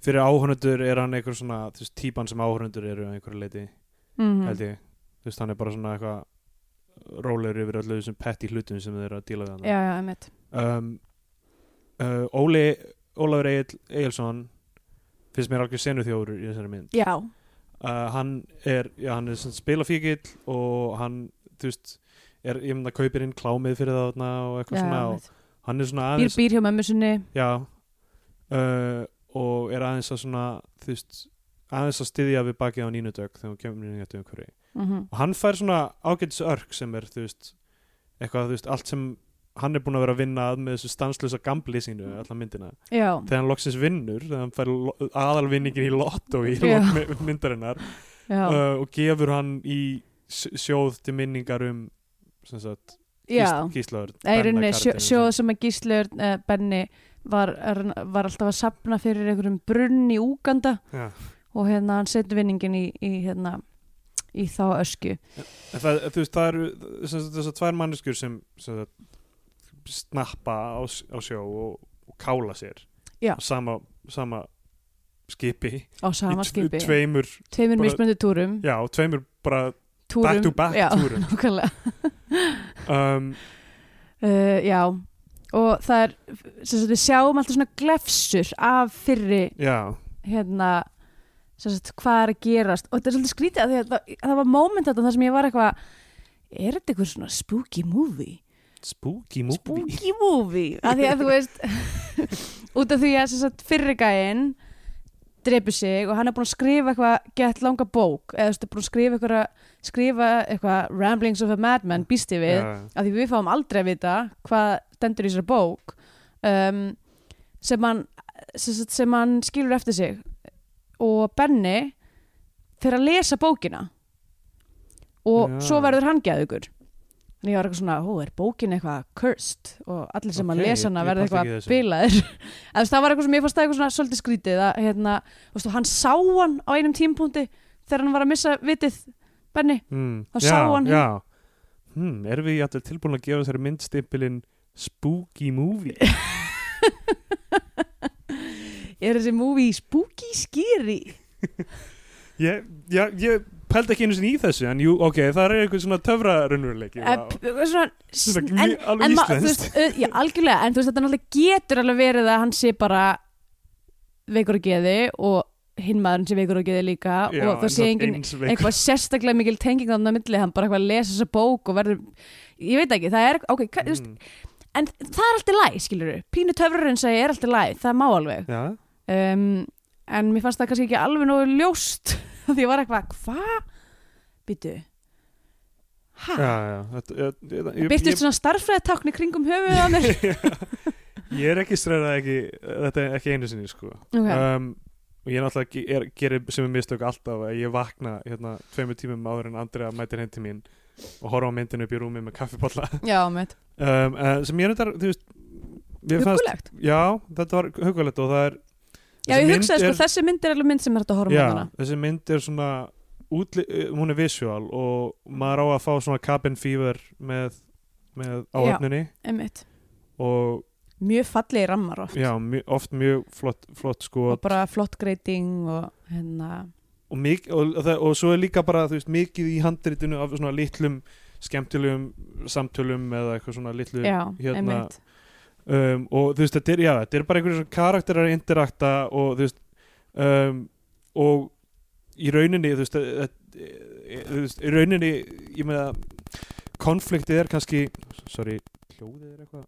[SPEAKER 3] fyrir áhörnundur er hann einhver svona þú veist, típan sem áhörnundur eru að einhverju leiti
[SPEAKER 2] Mm. Mhm.
[SPEAKER 3] held ég, þú veist, hann er bara svona eitthvað rólegur yfir öllu þessum petti hlutum sem þeir eru að díla við hann
[SPEAKER 2] já, já, einmitt
[SPEAKER 3] um, uh, Óli Ólafur Egil, Egilson finnst mér algjör senu þjóður í þessari mynd
[SPEAKER 2] já,
[SPEAKER 3] uh, hann er, já, hann er spilafíkil og hann, þú veist er, ég myndi að kaupir inn klámið fyrir það þarna og eitthvað
[SPEAKER 2] já
[SPEAKER 3] svona og
[SPEAKER 2] einmitt.
[SPEAKER 3] hann er svona
[SPEAKER 2] býr
[SPEAKER 3] aðeins
[SPEAKER 2] býr hjá mömmu sinni
[SPEAKER 3] já, uh, og er aðeins að svona þú veist, aðeins að styðja við bakið á nínudögg þegar hún kemur inn í þetta umhverfi
[SPEAKER 2] Mhm.
[SPEAKER 3] og hann fær svona ágætis örk sem er þú veist, eitthvað, þú veist, allt sem hann er búin að vera að vinna að með þessu stanslösa gambli
[SPEAKER 2] Mm.
[SPEAKER 3] sínu, alla myndina
[SPEAKER 2] já,
[SPEAKER 3] þegar hann loksins vinnur, þegar hann fær lo- aðalvinningin í lotto í
[SPEAKER 2] Já.
[SPEAKER 3] lok my- myndarinnar
[SPEAKER 2] já,
[SPEAKER 3] uh, og gefur hann í s- sjóð til minningar um sem sagt,
[SPEAKER 2] já
[SPEAKER 3] gíslaður
[SPEAKER 2] Það er í rauninni sjó, sjóð sem að Gísleur uh, Benni var, er- var alltaf að sapna fyrir einhverjum brunn í Úganda
[SPEAKER 3] já.
[SPEAKER 2] og hérna hann setur vinningin í, í hérna í þá ösku
[SPEAKER 3] En Það, þú veist, það eru sem sagt, þessar tvær manneskjur sem, sem sagt, snappa á, s- á sjó og, og kála sér
[SPEAKER 2] Já.
[SPEAKER 3] Á sama, sama skipi
[SPEAKER 2] á sama
[SPEAKER 3] Í tve-
[SPEAKER 2] skipi
[SPEAKER 3] tveimur,
[SPEAKER 2] tveimur
[SPEAKER 3] bara-
[SPEAKER 2] mismunandi túrum,
[SPEAKER 3] já, tveimur bara
[SPEAKER 2] túrum
[SPEAKER 3] back to back
[SPEAKER 2] já,
[SPEAKER 3] túrum
[SPEAKER 2] [LAUGHS] nákvæmlega.
[SPEAKER 3] um,
[SPEAKER 2] uh, já, og það er sem sagt, við sjáum alltaf svona glefsur af fyrri
[SPEAKER 3] já,
[SPEAKER 2] hérna sem sagt, hvað er að gerast og þetta er svolítið skrítið af því að það, það var moment þetta þar sem ég var eitthvað er þetta eitthvað svona spooky movie
[SPEAKER 3] spooky movie
[SPEAKER 2] spooky movie af því að þú veist [LAUGHS] út af því að sem sagt, fyrri gæinn dreipur sig og hann er búin að skrifa eitthvað gett langa bók eða þú veist, er búin að skrifa eitthvað, skrifa eitthvað Ramblings of a Madman býst ég við
[SPEAKER 3] já,
[SPEAKER 2] af því við fáum aldrei að vita hvað dendur í sér bók um, sem hann sem, sagt, sem hann skilur eftir sig og Benni fyrir að lesa bókina og
[SPEAKER 3] Já.
[SPEAKER 2] svo verður hann geðugur en ég var eitthvað svona, hú, er bókin eitthvað cursed og allir sem
[SPEAKER 3] Ok,
[SPEAKER 2] að lesa hana
[SPEAKER 3] ég- ég
[SPEAKER 2] verður
[SPEAKER 3] pældi ekki í
[SPEAKER 2] eitthvað
[SPEAKER 3] þessu.
[SPEAKER 2] bilaðir [LAUGHS] Eða, þú veist, það var eitthvað sem ég fannst það eitthvað svona svolítið skrítið að hérna, þú veist, og hann sá hann á einum tímpúndi þegar hann var að missa vitið Benni
[SPEAKER 3] mm,
[SPEAKER 2] Þá
[SPEAKER 3] já,
[SPEAKER 2] sá hann- hérna.
[SPEAKER 3] já. Hmm, erum við jættu tilbúin að gefa þessari myndstimpilinn spooky
[SPEAKER 2] [LAUGHS]
[SPEAKER 3] movie
[SPEAKER 2] er þessi movie spooky skýri
[SPEAKER 3] ég, já, ég pældi ekki einu sinni í þessu en jú, ok, það er eitthvað svona töfra raunveruleiki
[SPEAKER 2] Eh, p- svona,
[SPEAKER 3] Svona
[SPEAKER 2] sn-
[SPEAKER 3] mjög- alveg
[SPEAKER 2] en ma- þú
[SPEAKER 3] íslenskt.
[SPEAKER 2] veist, uh, já, algjörlega, en þú veist þetta náttúrulega getur alveg verið að hann sé bara veikur að geði og hinn maðurinn sé veikur að geði líka
[SPEAKER 3] Já,
[SPEAKER 2] og
[SPEAKER 3] en
[SPEAKER 2] það sé
[SPEAKER 3] samt
[SPEAKER 2] engin
[SPEAKER 3] eins veikur.
[SPEAKER 2] eitthvað sérstaklega mikil tenging þannig að milli, hann bara eitthvað að lesa þessa bók og verður, ég veit ekki, það er ok, mm. veist,
[SPEAKER 3] Mm,
[SPEAKER 2] en það er allt í læg, skilur við pínu töfrurinn segi er allt í læg, það má alveg
[SPEAKER 3] já,
[SPEAKER 2] um, en mér fannst það kannski ekki alveg nógu ljóst [LAUGHS] af því ég var eitthvað, hvað býtu, hæ
[SPEAKER 3] já, já þetta- ég- ég- ég-
[SPEAKER 2] Byrtist
[SPEAKER 3] ég-
[SPEAKER 2] svona starfræðatákn í kringum höfuðið á
[SPEAKER 3] [LAUGHS]
[SPEAKER 2] mér
[SPEAKER 3] ég er ekki stræðað ekki þetta er ekki einu sinni sko
[SPEAKER 2] Ok.
[SPEAKER 3] um, og ég náttúrulega ge- er, gerir sem er mistök alltaf að ég vakna hérna tveimur tímum áður en Andrea mætir heim til mín og horfa á myndinu upp í rúmi með kaffipalla
[SPEAKER 2] Já, mitt.
[SPEAKER 3] [LAUGHS] um, uh, sem ég reyndar, þú veist mér fannst-
[SPEAKER 2] Hugulegt.
[SPEAKER 3] Já, þetta var hugulegt og það er
[SPEAKER 2] Já,
[SPEAKER 3] þessi
[SPEAKER 2] ég
[SPEAKER 3] mynd
[SPEAKER 2] hugsaði sko,
[SPEAKER 3] er-
[SPEAKER 2] þessi mynd er alveg mynd sem er hægt að horfa á
[SPEAKER 3] Já,
[SPEAKER 2] hana.
[SPEAKER 3] þessi mynd er svona útli, eh, hún er visual og maður á að fá svona cabin fever með, með áhöfninni
[SPEAKER 2] Einmitt.
[SPEAKER 3] og
[SPEAKER 2] Mjög fallegi rammar oft.
[SPEAKER 3] já, mjö, oft mjög flott, flott sko
[SPEAKER 2] Og bara flott greiting og hérna,
[SPEAKER 3] og, mik, og, og, það- og svo er líka bara þú veist, mikið í handritinu af svona litlum skemmtilegum samtölum eða eitthvað svona litlu
[SPEAKER 2] já,
[SPEAKER 3] hérna-
[SPEAKER 2] einmitt.
[SPEAKER 3] um, og þú veist, þetta er, já, þetta er bara einhverjum karakterar að interakta og þú veist um, og í rauninni þú veist, eh, eh, þú veist í rauninni, ég meina konfliktið er kannski sorry, hljóðið er eitthvað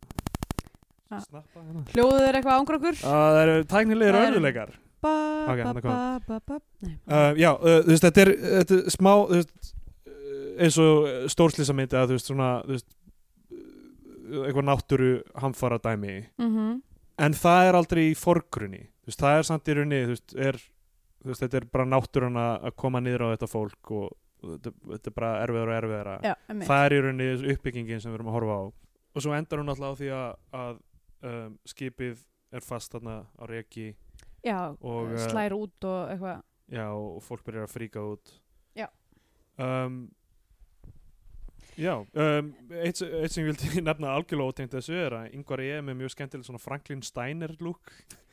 [SPEAKER 2] Ah.
[SPEAKER 3] snappa hérna
[SPEAKER 2] Hljóðuð er eitthvað ángur okkur?
[SPEAKER 3] Ah, það eru tæknilegir
[SPEAKER 2] Það eru-
[SPEAKER 3] örðuleikar
[SPEAKER 2] Ba,
[SPEAKER 3] ok,
[SPEAKER 2] ba,
[SPEAKER 3] þarna kom
[SPEAKER 2] ba, ba, ba. Nei.
[SPEAKER 3] uh, Já, uh, þú veist, þetta er, þetta er smá þú veist, uh, eins og stórslýsamyndi að þú veist svona þú veist, uh, eitthvað náttúru hamfara dæmi
[SPEAKER 2] Mhm.
[SPEAKER 3] en það er aldrei í forgrunni þú veist, það er samt í rauninni þú veist, er, þú veist, þetta er bara náttúrun að að koma niður á þetta fólk og og þetta, þetta er bara erfiðar og erfiðara
[SPEAKER 2] Já, einmitt.
[SPEAKER 3] það er í rauninni þessu uppbyggingin sem við erum að horfa á og svo endar hún alltaf á því að, að um, skipið er fast þarna á reki
[SPEAKER 2] Já,
[SPEAKER 3] og, eh,
[SPEAKER 2] slær út og eitthvað.
[SPEAKER 3] já, og fólk byrjar að fríka út
[SPEAKER 2] Já.
[SPEAKER 3] um, Já, um, eitt, sem- eitt sem ég vildi [LAUGHS] nefna algjörlega ótegnt þessu er að yngvar ég er með mjög skemmtileg svona Franklin Steiner look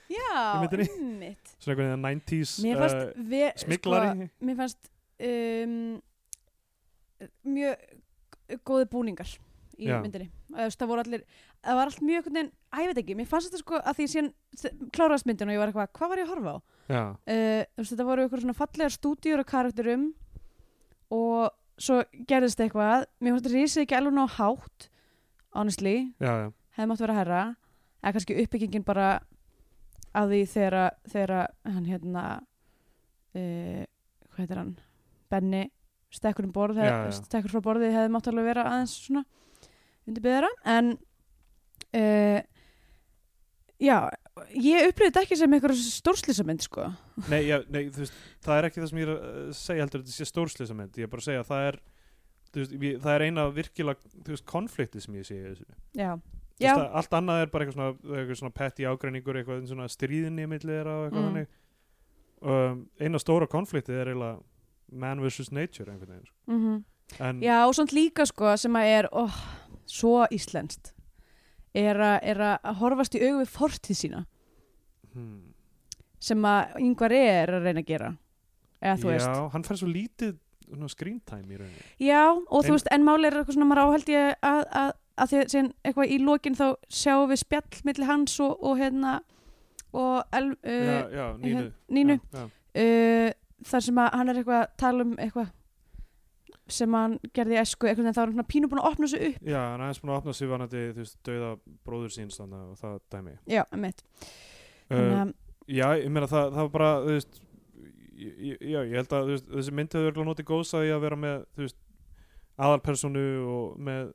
[SPEAKER 2] Já,
[SPEAKER 3] myndinni.
[SPEAKER 2] einmitt.
[SPEAKER 3] svona einhvern veginn 90s
[SPEAKER 2] Mér fannst,
[SPEAKER 3] eh,
[SPEAKER 2] ve-
[SPEAKER 3] smiklari
[SPEAKER 2] Sko, mér fannst um, mjög g- góði búningar í
[SPEAKER 3] Já.
[SPEAKER 2] myndinni. Eða, þú veist, Það voru allir, það var allt mjög, einhvern veginn, að ég veit ekki, mér fannst þetta sko að því ég síðan kláraðast myndin og ég var eitthvað, hvað var ég að horfa á?
[SPEAKER 3] já,
[SPEAKER 2] uh, þetta voru ykkur svona fallegar stúdíur og karakterum og svo gerðist eitthvað mér fannst að rísið ekki alveg ná hátt honestly,
[SPEAKER 3] já, já,
[SPEAKER 2] hefði mátt vera herra eða kannski uppbyggingin bara að því þegar að- þegar að hann hérna uh, hvað heitir hann Benni stekkur um borð
[SPEAKER 3] Já, já.
[SPEAKER 2] hef, stekkur frá borðið hefði mátt alveg vera aðeins svona undirbyðara en uh, já ég upplýði þetta ekki sem eitthvað stórslýsamind sko
[SPEAKER 3] Nei, já, nei þú veist, það er ekki það sem ég er að eh, segja heldur að þetta sé stórslýsament, ég er bara að segja að það er þú veist, ég, það er eina virkilega þú veist, konflikti sem ég sé í þessu Þú
[SPEAKER 2] Já,
[SPEAKER 3] veist,
[SPEAKER 2] já,
[SPEAKER 3] að, allt annað er bara eitthvað svona, eitthvað svona petty ágreiningur, eitthvað svona stríðinni milli þeirra og eitthvað
[SPEAKER 2] Mm.
[SPEAKER 3] þannig um, eina stóra konflikti er eiginlega man versus nature einhvern veginn, sko.
[SPEAKER 2] mm
[SPEAKER 3] en
[SPEAKER 2] já og svona líka sko sem að er oh, svo íslenskt er, a, er að horfast í augu við fortíð sína
[SPEAKER 3] hmm,
[SPEAKER 2] sem að yngvar er að reyna að gera eða þú
[SPEAKER 3] já,
[SPEAKER 2] veist
[SPEAKER 3] hann fær svo lítið svona, screen time í rauninni
[SPEAKER 2] já og þú
[SPEAKER 3] En-
[SPEAKER 2] veist en máli er eitthvað svona maður áhald ég að, að, að því að síðan eitthvað í lokin þá sjáum við spjall milli hans og, og hérna og el, uh,
[SPEAKER 3] já, já, nínu,
[SPEAKER 2] hérna, Nínu
[SPEAKER 3] já, já.
[SPEAKER 2] uh, þar sem að hann er eitthvað að tala um eitthvað sem hann gerði í esku eitthvað en þá er hann svona pínu búin að opna þessu upp
[SPEAKER 3] Já, hann er aðeins búin að opna sig vanandi þú veist, dauða bróður síns þannig og það dæmi.
[SPEAKER 2] já, mitt
[SPEAKER 3] Uh,
[SPEAKER 2] þannig
[SPEAKER 3] já, ég meina það, það var bara, þú veist, ég, ég- já, ég held að þú veist, þessi myndi hefur örugglega notið góðs að ég að vera með, þú veist, aðalpersonu og með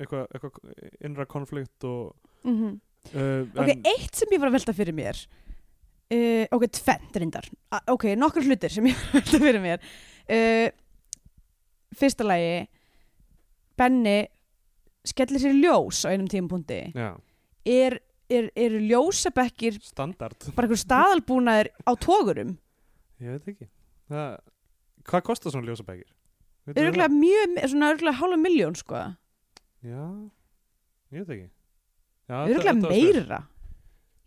[SPEAKER 3] eitthvað eitthva, innra konflikt og
[SPEAKER 2] að mhm.
[SPEAKER 3] uh,
[SPEAKER 2] Ok, eitt sem ég var að velta fyrir mér uh, Ok, tvennt reyndar A- Ok, nokkur hlutir sem ég var að velta fyrir mér uh, Fyrsta lagi Benni skellir sér í ljós á einum tímapunkti
[SPEAKER 3] já,
[SPEAKER 2] er, er, Eru ljósabekkir
[SPEAKER 3] standard,
[SPEAKER 2] bara einhver staðalbúnaðir á tógurum
[SPEAKER 3] ég veit ekki. Það, hvað kostar svona ljósabækir? Veitum við
[SPEAKER 2] Örgulega mjög, svona örgulega hálfa miljón sko
[SPEAKER 3] það? Já, ég veit ekki. Já, þetta-
[SPEAKER 2] Örgulega
[SPEAKER 3] þetta var spes.
[SPEAKER 2] meira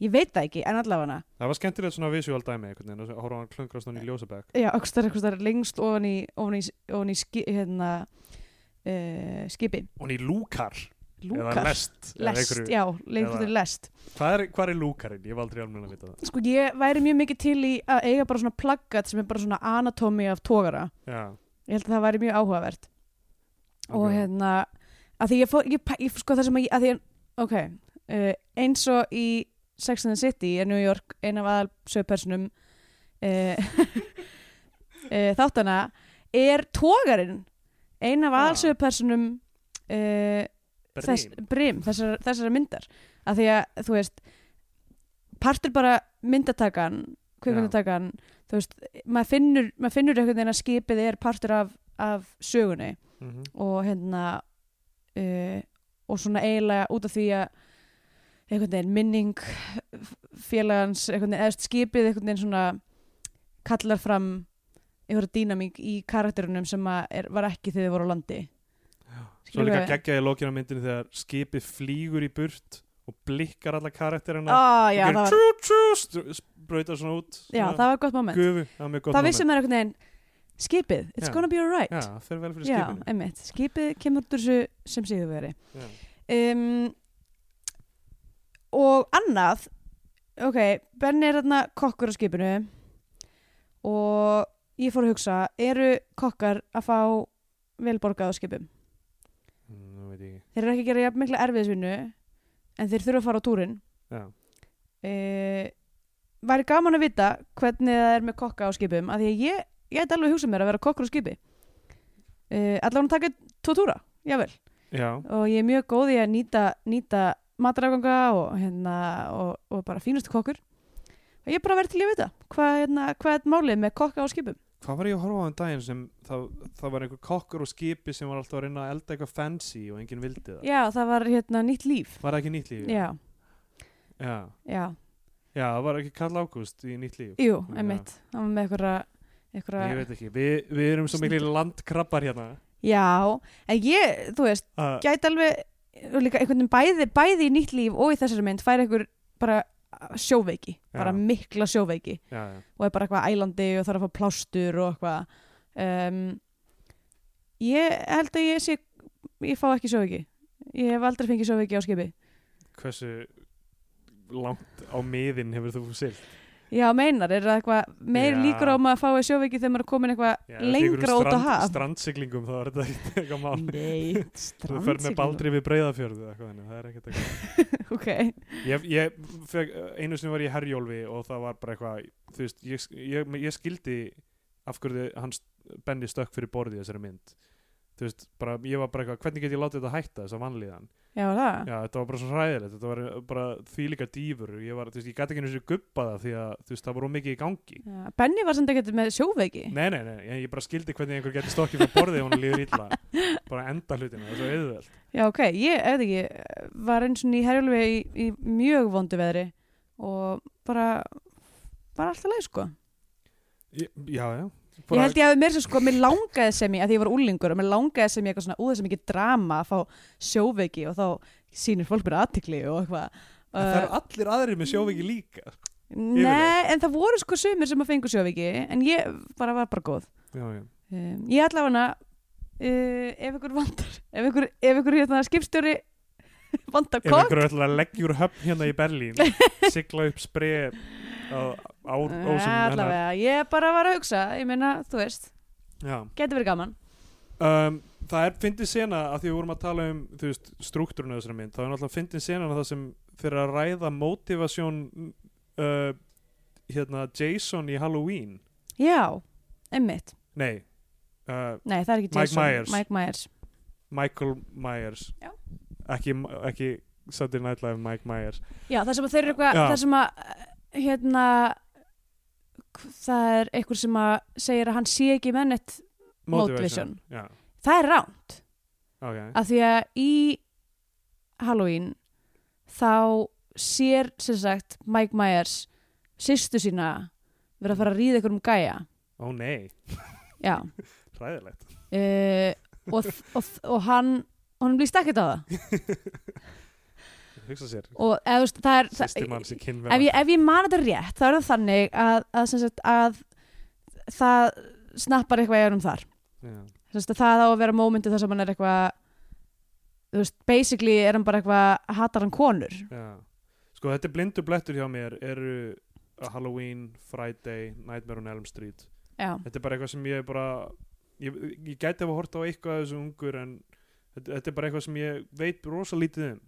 [SPEAKER 2] Ég veit það ekki, en allavega
[SPEAKER 3] Það var skemmtilegt svona visual dæmi einhvern veginn, að horfa á hann klöngrast hann í ljósabæk.
[SPEAKER 2] Já, öxtar eitthvað lengst ofan í, ofan í, ofan í ski, hérna, uh, skipi
[SPEAKER 3] og hann í lúkar eða
[SPEAKER 2] Lúkar
[SPEAKER 3] lest, eða
[SPEAKER 2] lest,
[SPEAKER 3] einhverju-
[SPEAKER 2] já, leikur til
[SPEAKER 3] eða-
[SPEAKER 2] lest
[SPEAKER 3] Hvað, er, hvað er lúkarinn? Ég hef aldrei alveg að vita það
[SPEAKER 2] sko ég væri mjög mikið til í að eiga bara svona plaggat sem er bara svona anatomi af tógara,
[SPEAKER 3] já,
[SPEAKER 2] ég held að það væri mjög áhugavert og
[SPEAKER 3] Ok.
[SPEAKER 2] hérna að því ég fór, ég, pæ- ég sko það sem að ég að því, að- ok, uh, eins og í Sex and the City er New York ein af aðal sögpersonum [LAUGHS] uh, uh, þáttana er tógarinn ein af aðal
[SPEAKER 3] Ah.
[SPEAKER 2] sögpersonum uh, þess, brim þessar, þessara myndar að því að þú veist partur bara myndatakan kvikmyndatakan þú veist, maður finnur, maður finnur einhvern veginn að skipið er partur af, af sögunni
[SPEAKER 3] mm -hmm.
[SPEAKER 2] og hérna uh, og svona eiginlega út af því að einhvern veginn minning f- félagans, einhvern veginn eðst skipið einhvern veginn svona kallar fram einhverja dýnamík í karakterunum sem að er, var ekki þegar þið voru á landi
[SPEAKER 3] Svo er
[SPEAKER 2] Skilurðu?
[SPEAKER 3] líka geggja í lokinu á myndinu þegar skipið flýgur í burt og blikkar alla karakterina
[SPEAKER 2] ah, já,
[SPEAKER 3] og
[SPEAKER 2] það, var,
[SPEAKER 3] trú, trú, stru- sprautar svona út
[SPEAKER 2] já,
[SPEAKER 3] svona
[SPEAKER 2] það var gott moment
[SPEAKER 3] gufu, það var mjög gott
[SPEAKER 2] það vissi maður einhvern veginn skipið, it's
[SPEAKER 3] Já.
[SPEAKER 2] gonna be alright
[SPEAKER 3] moment. Já, það fer vel fyrir
[SPEAKER 2] Já,
[SPEAKER 3] skipinu
[SPEAKER 2] einmitt, skipið kemur út úr þessu sem síðuveri
[SPEAKER 3] Já.
[SPEAKER 2] um, og annað ok, Benni er þarna kokkur á skipinu og ég fór að hugsa eru kokkar að fá velborgað á skipum
[SPEAKER 3] Mm, Nú veit ég ekki
[SPEAKER 2] þeir eru ekki að gera jafn mikla erfiðisvinnu en þeir þurfa að fara á túrin
[SPEAKER 3] Já,
[SPEAKER 2] uh, væri gaman að vita hvernig það er með kokka á skipum af því að ég, ég ætti alveg hugsað mér að vera kokkur á skipi uh, allan að taka tvo túra, jável
[SPEAKER 3] já,
[SPEAKER 2] og ég er mjög góð í að nýta, nýta matarafganga og, hérna, og, og bara fínustu kokkur og ég er bara verið til í að vita hvað, hérna, hvað er málið með kokka á skipum
[SPEAKER 3] hvað var ég að horfa á þann daginn sem það, það var einhver kokkur og skipi sem var alltaf að reyna að elda eitthvað fancy og enginn vildi það
[SPEAKER 2] já, það var hérna nýtt líf
[SPEAKER 3] Var það ekki nýtt líf?
[SPEAKER 2] já,
[SPEAKER 3] Já,
[SPEAKER 2] já,
[SPEAKER 3] já það var ekki Karl Ágúst í nýtt líf
[SPEAKER 2] jú,
[SPEAKER 3] Já.
[SPEAKER 2] einmitt það var með einhverja
[SPEAKER 3] Ég
[SPEAKER 2] einhverja,
[SPEAKER 3] veit ekki, við, við erum svo mikli landkrabbar hérna
[SPEAKER 2] já, en ég, þú veist
[SPEAKER 3] að
[SPEAKER 2] gæti alveg og líka einhvern veginn bæði, bæði í nýtt líf og í þessari mynd fær einhver bara sjóveiki, bara
[SPEAKER 3] Já.
[SPEAKER 2] mikla sjóveiki
[SPEAKER 3] já, já.
[SPEAKER 2] og er bara eitthvað ælandi og þarf að fá plástur og eitthvað um, ég held að ég sé ég fá ekki sjóveiki ég hef aldrei fengið sjóveiki á skipi
[SPEAKER 3] Hversu langt á miðin hefur þú silt?
[SPEAKER 2] já meinar, er það eitthvað meir
[SPEAKER 3] Já.
[SPEAKER 2] líkur á maður að fái sjóveiki þegar maður er komin eitthvað
[SPEAKER 3] Já, um
[SPEAKER 2] lengra út á haf
[SPEAKER 3] Strandsiglingum þá er þetta ekkert eitthvað mál [LAUGHS]
[SPEAKER 2] nei,
[SPEAKER 3] Þú fer með
[SPEAKER 2] strandsiglum
[SPEAKER 3] baldri við breyðafjörðu eitthvað, þannig, það er ekkert eitthvað
[SPEAKER 2] ok,
[SPEAKER 3] ég, ég feg, einu sinni var ég í herjólfi og það var bara eitthvað þú veist, ég, ég, ég skildi af hverju hans benni stökk fyrir borðið í þessari mynd þú veist, bara, ég var bara eitthvað, hvernig get ég látið þetta hætta þess að vanlíðan,
[SPEAKER 2] já það
[SPEAKER 3] já, þetta var bara svo hræðilegt þetta var bara þvílíka dýfur ég var, þú veist, ég gæti ekki einu sinni guppa það því að þú veist, það var ómikið í gangi
[SPEAKER 2] Já, Benni var samt ekkert með sjóveiki
[SPEAKER 3] nei, nei, nei, ég, ég bara skildi hvernig einhver getur stokkið fyrir borðið og hún líður illa bara enda hlutina, það er svo auðvelt
[SPEAKER 2] Já, ok, ég, ef það ekki, var eins og í herjulvi í, í mjög vondu veðri og bara, bara alltaf leið, sko.
[SPEAKER 3] Ég- já, já
[SPEAKER 2] ég held ég að mér sem, sko, mér langaði sem ég, að því ég var úlingur og mér langaði sem ég eitthvað svona úða sem ekki drama að fá sjóveiki og þá sýnir fólk mér aðtikli og eitthvað. Uh,
[SPEAKER 3] En það eru allir aðrir með sjóviki líka
[SPEAKER 2] Nei, en það voru sko sumir sem að fengu sjóveiki, en ég bara var bara góð.
[SPEAKER 3] já, já.
[SPEAKER 2] Um, ég ætla hana, uh, ef ykkur vandar, ef ykkur, ef ykkur hérna skipstjóri [LAUGHS] vandar
[SPEAKER 3] Ef
[SPEAKER 2] kokk,
[SPEAKER 3] einhverju ætlar að leggja úr höfn hérna í
[SPEAKER 2] [LAUGHS]
[SPEAKER 3] Berlín sigla upp spreið á á- hérna.
[SPEAKER 2] Nei,
[SPEAKER 3] ásum hennar.
[SPEAKER 2] Uh, Eh, allavega, ég bara var að hugsa ég meina, þú veist,
[SPEAKER 3] Já.
[SPEAKER 2] getur verið gaman
[SPEAKER 3] um, Það er fyndið sena að því við vorum að tala um þú veist, struktúrinu þessari mynd þá er náttúrulega fyndið sena það sem fyrir að ræða motivasjón uh, hérna Jason í Halloween
[SPEAKER 2] já, emmitt,
[SPEAKER 3] Nei, uh,
[SPEAKER 2] nei það er ekki
[SPEAKER 3] Mike
[SPEAKER 2] Jason
[SPEAKER 3] Myers.
[SPEAKER 2] Mike Myers.
[SPEAKER 3] Michael Myers
[SPEAKER 2] Já.
[SPEAKER 3] ekki, ekki Saturday Night Live Mike Myers
[SPEAKER 2] já, það sem að þeir eru eitthvað
[SPEAKER 3] Já.
[SPEAKER 2] það sem að, eh, hérna k- það er einhver sem að segir að hann sé ekki mennett Motivation.
[SPEAKER 3] Já,
[SPEAKER 2] það er ránt,
[SPEAKER 3] ok
[SPEAKER 2] af því að í Halloween þá sér, sem sagt, Mike Myers sýstu sína vera að fara að ríða ykkur um gæja
[SPEAKER 3] Ó nei,
[SPEAKER 2] já
[SPEAKER 3] hræðilegt
[SPEAKER 2] uh, og, og, og hann honum líst ekkert á það
[SPEAKER 3] Hugsa sér,
[SPEAKER 2] og eða, þú veist, það er, það,
[SPEAKER 3] sýstir mann sér kynverð
[SPEAKER 2] ef, ég, ef ég man þetta rétt þá er það þannig að, að, sem sagt, að það snappar eitthvað í erum þar
[SPEAKER 3] Já.
[SPEAKER 2] Sem sagt, að það á að vera mómyndi þar sem hann er eitthvað þú veist, basically er hann bara eitthvað hatar hann konur
[SPEAKER 3] Já. Sko þetta er blindu blettur hjá mér eru uh, Halloween, Friday, Nightmare on Elm Street
[SPEAKER 2] já,
[SPEAKER 3] Þetta er bara eitthvað sem ég bara ég, ég gæti hafa hort á eitthvað af þessu ungur en þetta, þetta er bara eitthvað sem ég veit rosa lítið um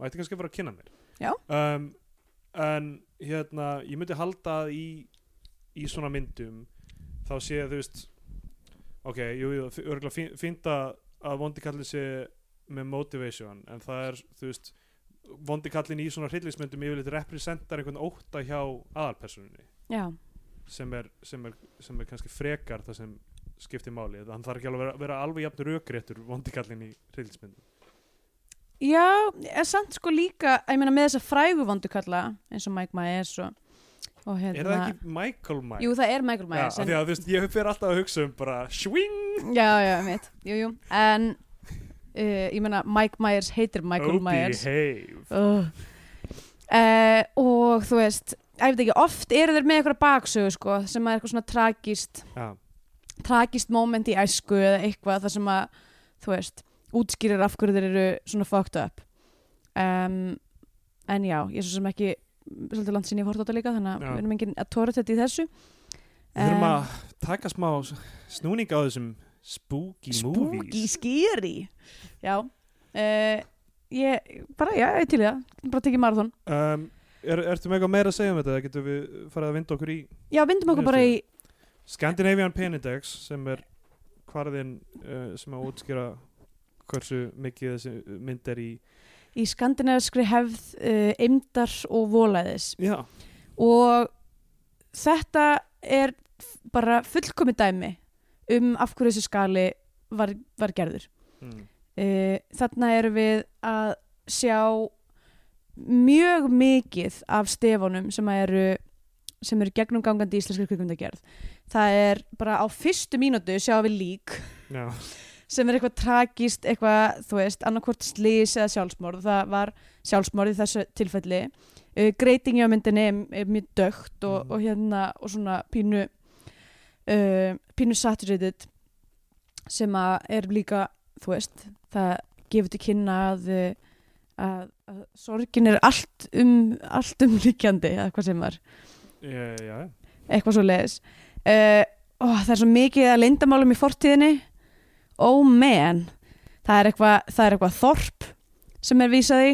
[SPEAKER 3] og þetta er kannski að fara að kynna mér
[SPEAKER 2] Já.
[SPEAKER 3] um, En hérna ég myndi halda að í, í svona myndum þá sé þú veist ok, jú, jú, örgulega fínt að að vondi kallin sé með motivation en það er, þú veist vondi kallin í svona hryllismyndum yfirleitt representar einhvern ótta hjá aðalpersoninni
[SPEAKER 2] já,
[SPEAKER 3] sem er, sem er, sem er kannski frekar það sem skiptir máli hann þarf ekki alveg að vera, vera alveg jafn rökréttur vondikallin í hreilsmyndum
[SPEAKER 2] Já, er samt sko líka ég meina með þessa frægu vondukalla eins og Mike Myers og, og hérna
[SPEAKER 3] er það ekki Michael Mike?
[SPEAKER 2] Jú, það er Michael
[SPEAKER 3] Já,
[SPEAKER 2] Myers
[SPEAKER 3] af því
[SPEAKER 2] en,
[SPEAKER 3] að þú veist, ég fer alltaf að hugsa um bara swing,
[SPEAKER 2] Já, já, mitt, jú, jú en uh, ég meina Mike Myers heitir Michael
[SPEAKER 3] oh
[SPEAKER 2] Myers
[SPEAKER 3] behave
[SPEAKER 2] uh. Uh, og þú veist ég veit ekki, oft eru þeir með eitthvað baksögu sko, sem er eitthvað svona tragist
[SPEAKER 3] Já,
[SPEAKER 2] tragist moment í æsku eða eitthvað þar sem að þú veist, útskýrir af hverju þeir eru svona fucked up um, en já, ég er svo sem ekki svolítið langt sinni ég hort á þetta líka þannig að
[SPEAKER 3] Já.
[SPEAKER 2] við erum enginn að tóra þetta í þessu Eh,
[SPEAKER 3] við þurfum
[SPEAKER 2] Em,
[SPEAKER 3] að taka smá snúning á þessum spooky,
[SPEAKER 2] spooky
[SPEAKER 3] movies
[SPEAKER 2] skýri já uh, ég, bara já, ég er til í það Getum bara tekið marathon
[SPEAKER 3] um, er, Ertu með eitthvað meira að segja um þetta? eða Getum við farið að vinda okkur í
[SPEAKER 2] já, vindum okkur bara í
[SPEAKER 3] Scandinavian Penindex sem er hvarðin uh, sem að útskýra hversu mikið þessi mynd er í
[SPEAKER 2] í skandinaviskri hefð uh, eimdar og volæðis
[SPEAKER 3] Já,
[SPEAKER 2] og þetta er f- bara fullkomi dæmi um af hverju þessi skali var, var gerður
[SPEAKER 3] mm.
[SPEAKER 2] uh, þarna erum við að sjá mjög mikið af stefunum sem að eru sem eru gegnumgangandi í íslenskri kvikmyndagerð það er bara á fyrstu mínútu sjáum við lík
[SPEAKER 3] já,
[SPEAKER 2] sem er eitthvað tragist, eitthvað, þú veist, annarkvort slís eða sjálfsmorð. Það var sjálfsmorð í þessu tilfelli. Uh, greitingi á myndinni er, er mjög dögt og,
[SPEAKER 3] Mhm.
[SPEAKER 2] og hérna, og svona pínu, uh, pínu saturated sem að er líka, þú veist, það gefur til kynna að, uh, að, að sorgin er allt um, allt umlíkjandi, eða hvað sem var
[SPEAKER 3] já, já,
[SPEAKER 2] eitthvað svo leiðis uh, ó, það er svo mikið að lindamálum í fortíðinni oh man það er eitthvað, það er eitthvað þorp sem er vísað í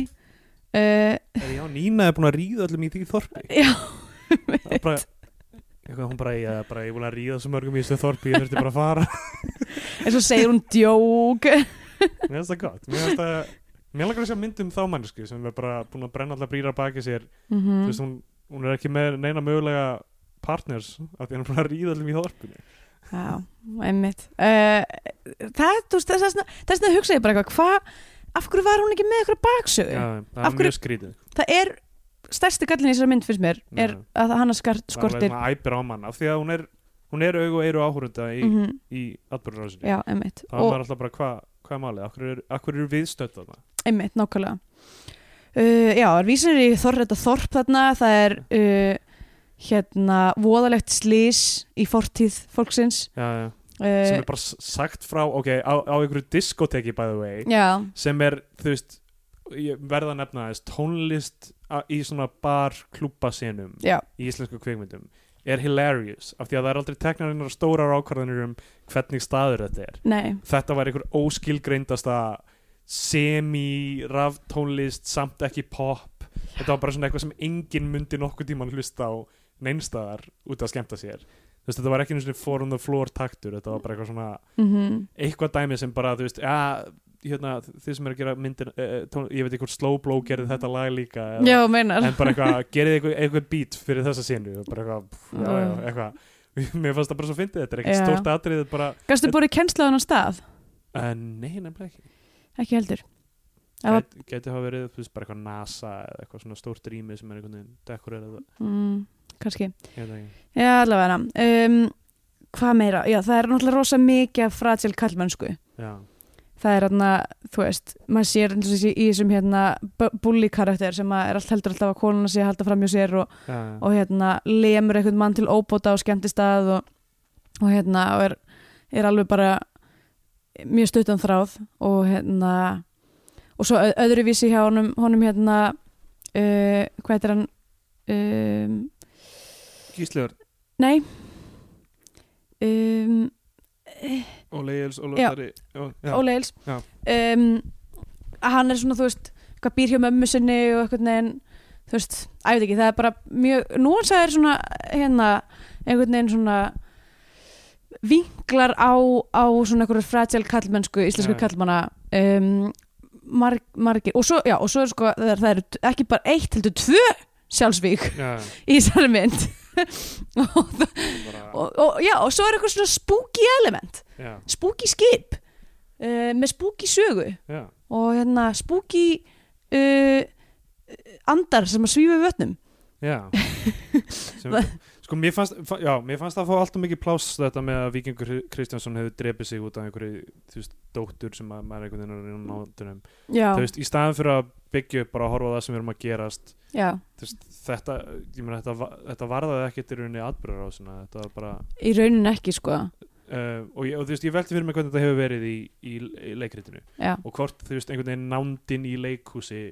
[SPEAKER 2] uh,
[SPEAKER 3] já, já Nína er búin að ríða öllum í því [LAUGHS] þorpi
[SPEAKER 2] já, [LAUGHS]
[SPEAKER 3] Það er bara Eitthvað hún bara, já, bara, ég er búin að ríða svo mörgum í þessu þorpi, ég þurfti bara að [LAUGHS] fara
[SPEAKER 2] eins og segir hún djók
[SPEAKER 3] Mér finnst það gott Mér finnst það Mér langar að sjá mynd um þá mannsku sem er bara búin að brenna allar brýra baki sér
[SPEAKER 2] mm
[SPEAKER 3] Þú veist, hún, hún er ekki með neina mögulega partners af því hann er búin að ríða allir í þorpinu
[SPEAKER 2] já, einmitt uh, það, þú veist, þess að þess að hugsa ég bara eitthvað, hvað af hverju var hún ekki með eitthvað baksögu
[SPEAKER 3] Já, það
[SPEAKER 2] Af
[SPEAKER 3] er
[SPEAKER 2] hverju-
[SPEAKER 3] mjög skrítið
[SPEAKER 2] það er stærsti gallin í þessari mynd finnst mér er
[SPEAKER 3] Já.
[SPEAKER 2] að hana skart,
[SPEAKER 3] Það
[SPEAKER 2] skortir
[SPEAKER 3] er alveg æpir á mann af því að hún er, hún er augu og eiru áhúrunda í,
[SPEAKER 2] mm
[SPEAKER 3] í atbyrðurásinni
[SPEAKER 2] já, einmitt
[SPEAKER 3] Það var alltaf bara hvað hva er málið, af hverju er, af hverju eru viðstödd þarna
[SPEAKER 2] Einmitt, nákvæmlega. Uh, já, það er vísir í þorr, þetta þorp þarna, það er uh, hérna voðalegt slís í fortíð fólksins.
[SPEAKER 3] já, já. sem
[SPEAKER 2] Uh,
[SPEAKER 3] er bara s- sagt frá ok, á, á einhverju diskoteki by the way
[SPEAKER 2] já,
[SPEAKER 3] sem er, þú veist ég verða að nefna þess, tónlist a- í svona bar klúbbasinum
[SPEAKER 2] já,
[SPEAKER 3] í íslensku kvikmyndum er hilarious, af því að það er aldrei teknar einar stórar ákvarðanir um hvernig staður þetta er.
[SPEAKER 2] nei,
[SPEAKER 3] Þetta var einhver óskilgreindasta semi-raftónlist samt ekki pop þetta var bara svona eitthvað sem enginn mundi nokkuð tíman hlusta á neinstaðar út að skemmta sér. Þú veist, þetta var ekki einu svona four on the floor taktur, þetta var bara eitthvað svona
[SPEAKER 2] mm
[SPEAKER 3] eitthvað dæmi sem bara, þú veist, ja, hérna, þið sem er að gera myndir, uh, tón, ég veit ekki hvort Slow Blow gerði þetta lag líka. eða-
[SPEAKER 2] já, meinar.
[SPEAKER 3] en bara eitthvað, gerði eitthvað, eitthvað beat fyrir þessa sinu, bara eitthvað, pff, já, já,
[SPEAKER 2] Mm.
[SPEAKER 3] eitthvað. [LAUGHS] Mér fannst það bara svo fyndið, þetta er ekki
[SPEAKER 2] Já.
[SPEAKER 3] stórt atrið, þetta er bara,
[SPEAKER 2] Gastu búið kennsla á hennar stað?
[SPEAKER 3] uh, nei, nefnilega ekki.
[SPEAKER 2] Ekki heldur. Það var-
[SPEAKER 3] Gæt, gæti hafa verið, þú veist, bara eitthvað NASA eða eitthvað svona stórt rými sem er einhvern veginn dekorerað,
[SPEAKER 2] Mm, kannski.
[SPEAKER 3] ég veit það ekki.
[SPEAKER 2] Já, allavega. Um, hvað meira? Já, það er náttúrulega rosa mikið af fratil kallmennsku.
[SPEAKER 3] Já,
[SPEAKER 2] það er hérna, þú veist maður sér eins og þessi í þessum hérna bully karakter sem að er allt heldur alltaf að konuna sé að halda fram hjá sér og,
[SPEAKER 3] já, já.
[SPEAKER 2] og hérna lemur einhvern mann til óbóta og skemmtistað og, og hérna og er, er alveg bara mjög stuttan þráð og hérna og svo ö- öðruvísi hjá honum, honum hérna uh, hvað heitir hann um,
[SPEAKER 3] Gísliður,
[SPEAKER 2] nei um,
[SPEAKER 3] Óli Eils, Óli
[SPEAKER 2] Já.
[SPEAKER 3] Þari, já,
[SPEAKER 2] Óli Eils
[SPEAKER 3] Já.
[SPEAKER 2] um, að hann er svona þú veist eitthvað býr hjá mömmu sinni og eitthvað neginn þú veist, að ég veit ekki, það er bara mjög núansa er svona hérna einhvern veginn svona vinklar á, á svona einhverju fragil kallmennsku, íslensku
[SPEAKER 3] Já.
[SPEAKER 2] kallmanna um, marg, margir og svo, já, og svo er sko, það, er, það er ekki bara eitt heldur tvö sjálfsvík
[SPEAKER 3] já,
[SPEAKER 2] í þessari mynd [LAUGHS] og, það-
[SPEAKER 3] bara,
[SPEAKER 2] og, og, já, og svo er eitthvað svona spooky element
[SPEAKER 3] já,
[SPEAKER 2] spooky skip uh, með spooky sögu
[SPEAKER 3] já,
[SPEAKER 2] og hérna spooky uh, andar sem að svífa við vötnum
[SPEAKER 3] já.
[SPEAKER 2] [LAUGHS]
[SPEAKER 3] Sem, sko mér fannst fa- já, mér fannst það að fá alltaf mikið pláss þetta með að Víkingur Kristjánsson hefur drepið sig út af einhverju þú veist, dóttur sem að maður einhvern veginn er að náttunum
[SPEAKER 2] já,
[SPEAKER 3] þú veist, í staðan fyrir að byggja upp bara að horfa á það sem við erum að gerast
[SPEAKER 2] já,
[SPEAKER 3] þú veist, þetta, ég meina þetta, va- þetta varðaði ekkert í rauninni atbyrðar á þetta var bara
[SPEAKER 2] í rauninni ekki sko
[SPEAKER 3] uh, og, ég, og þú veist, ég velti fyrir mig hvernig þetta hefur verið í, í, í leikritinu
[SPEAKER 2] já,
[SPEAKER 3] og hvort, þú veist, einhvern veginn nándin í leikhúsi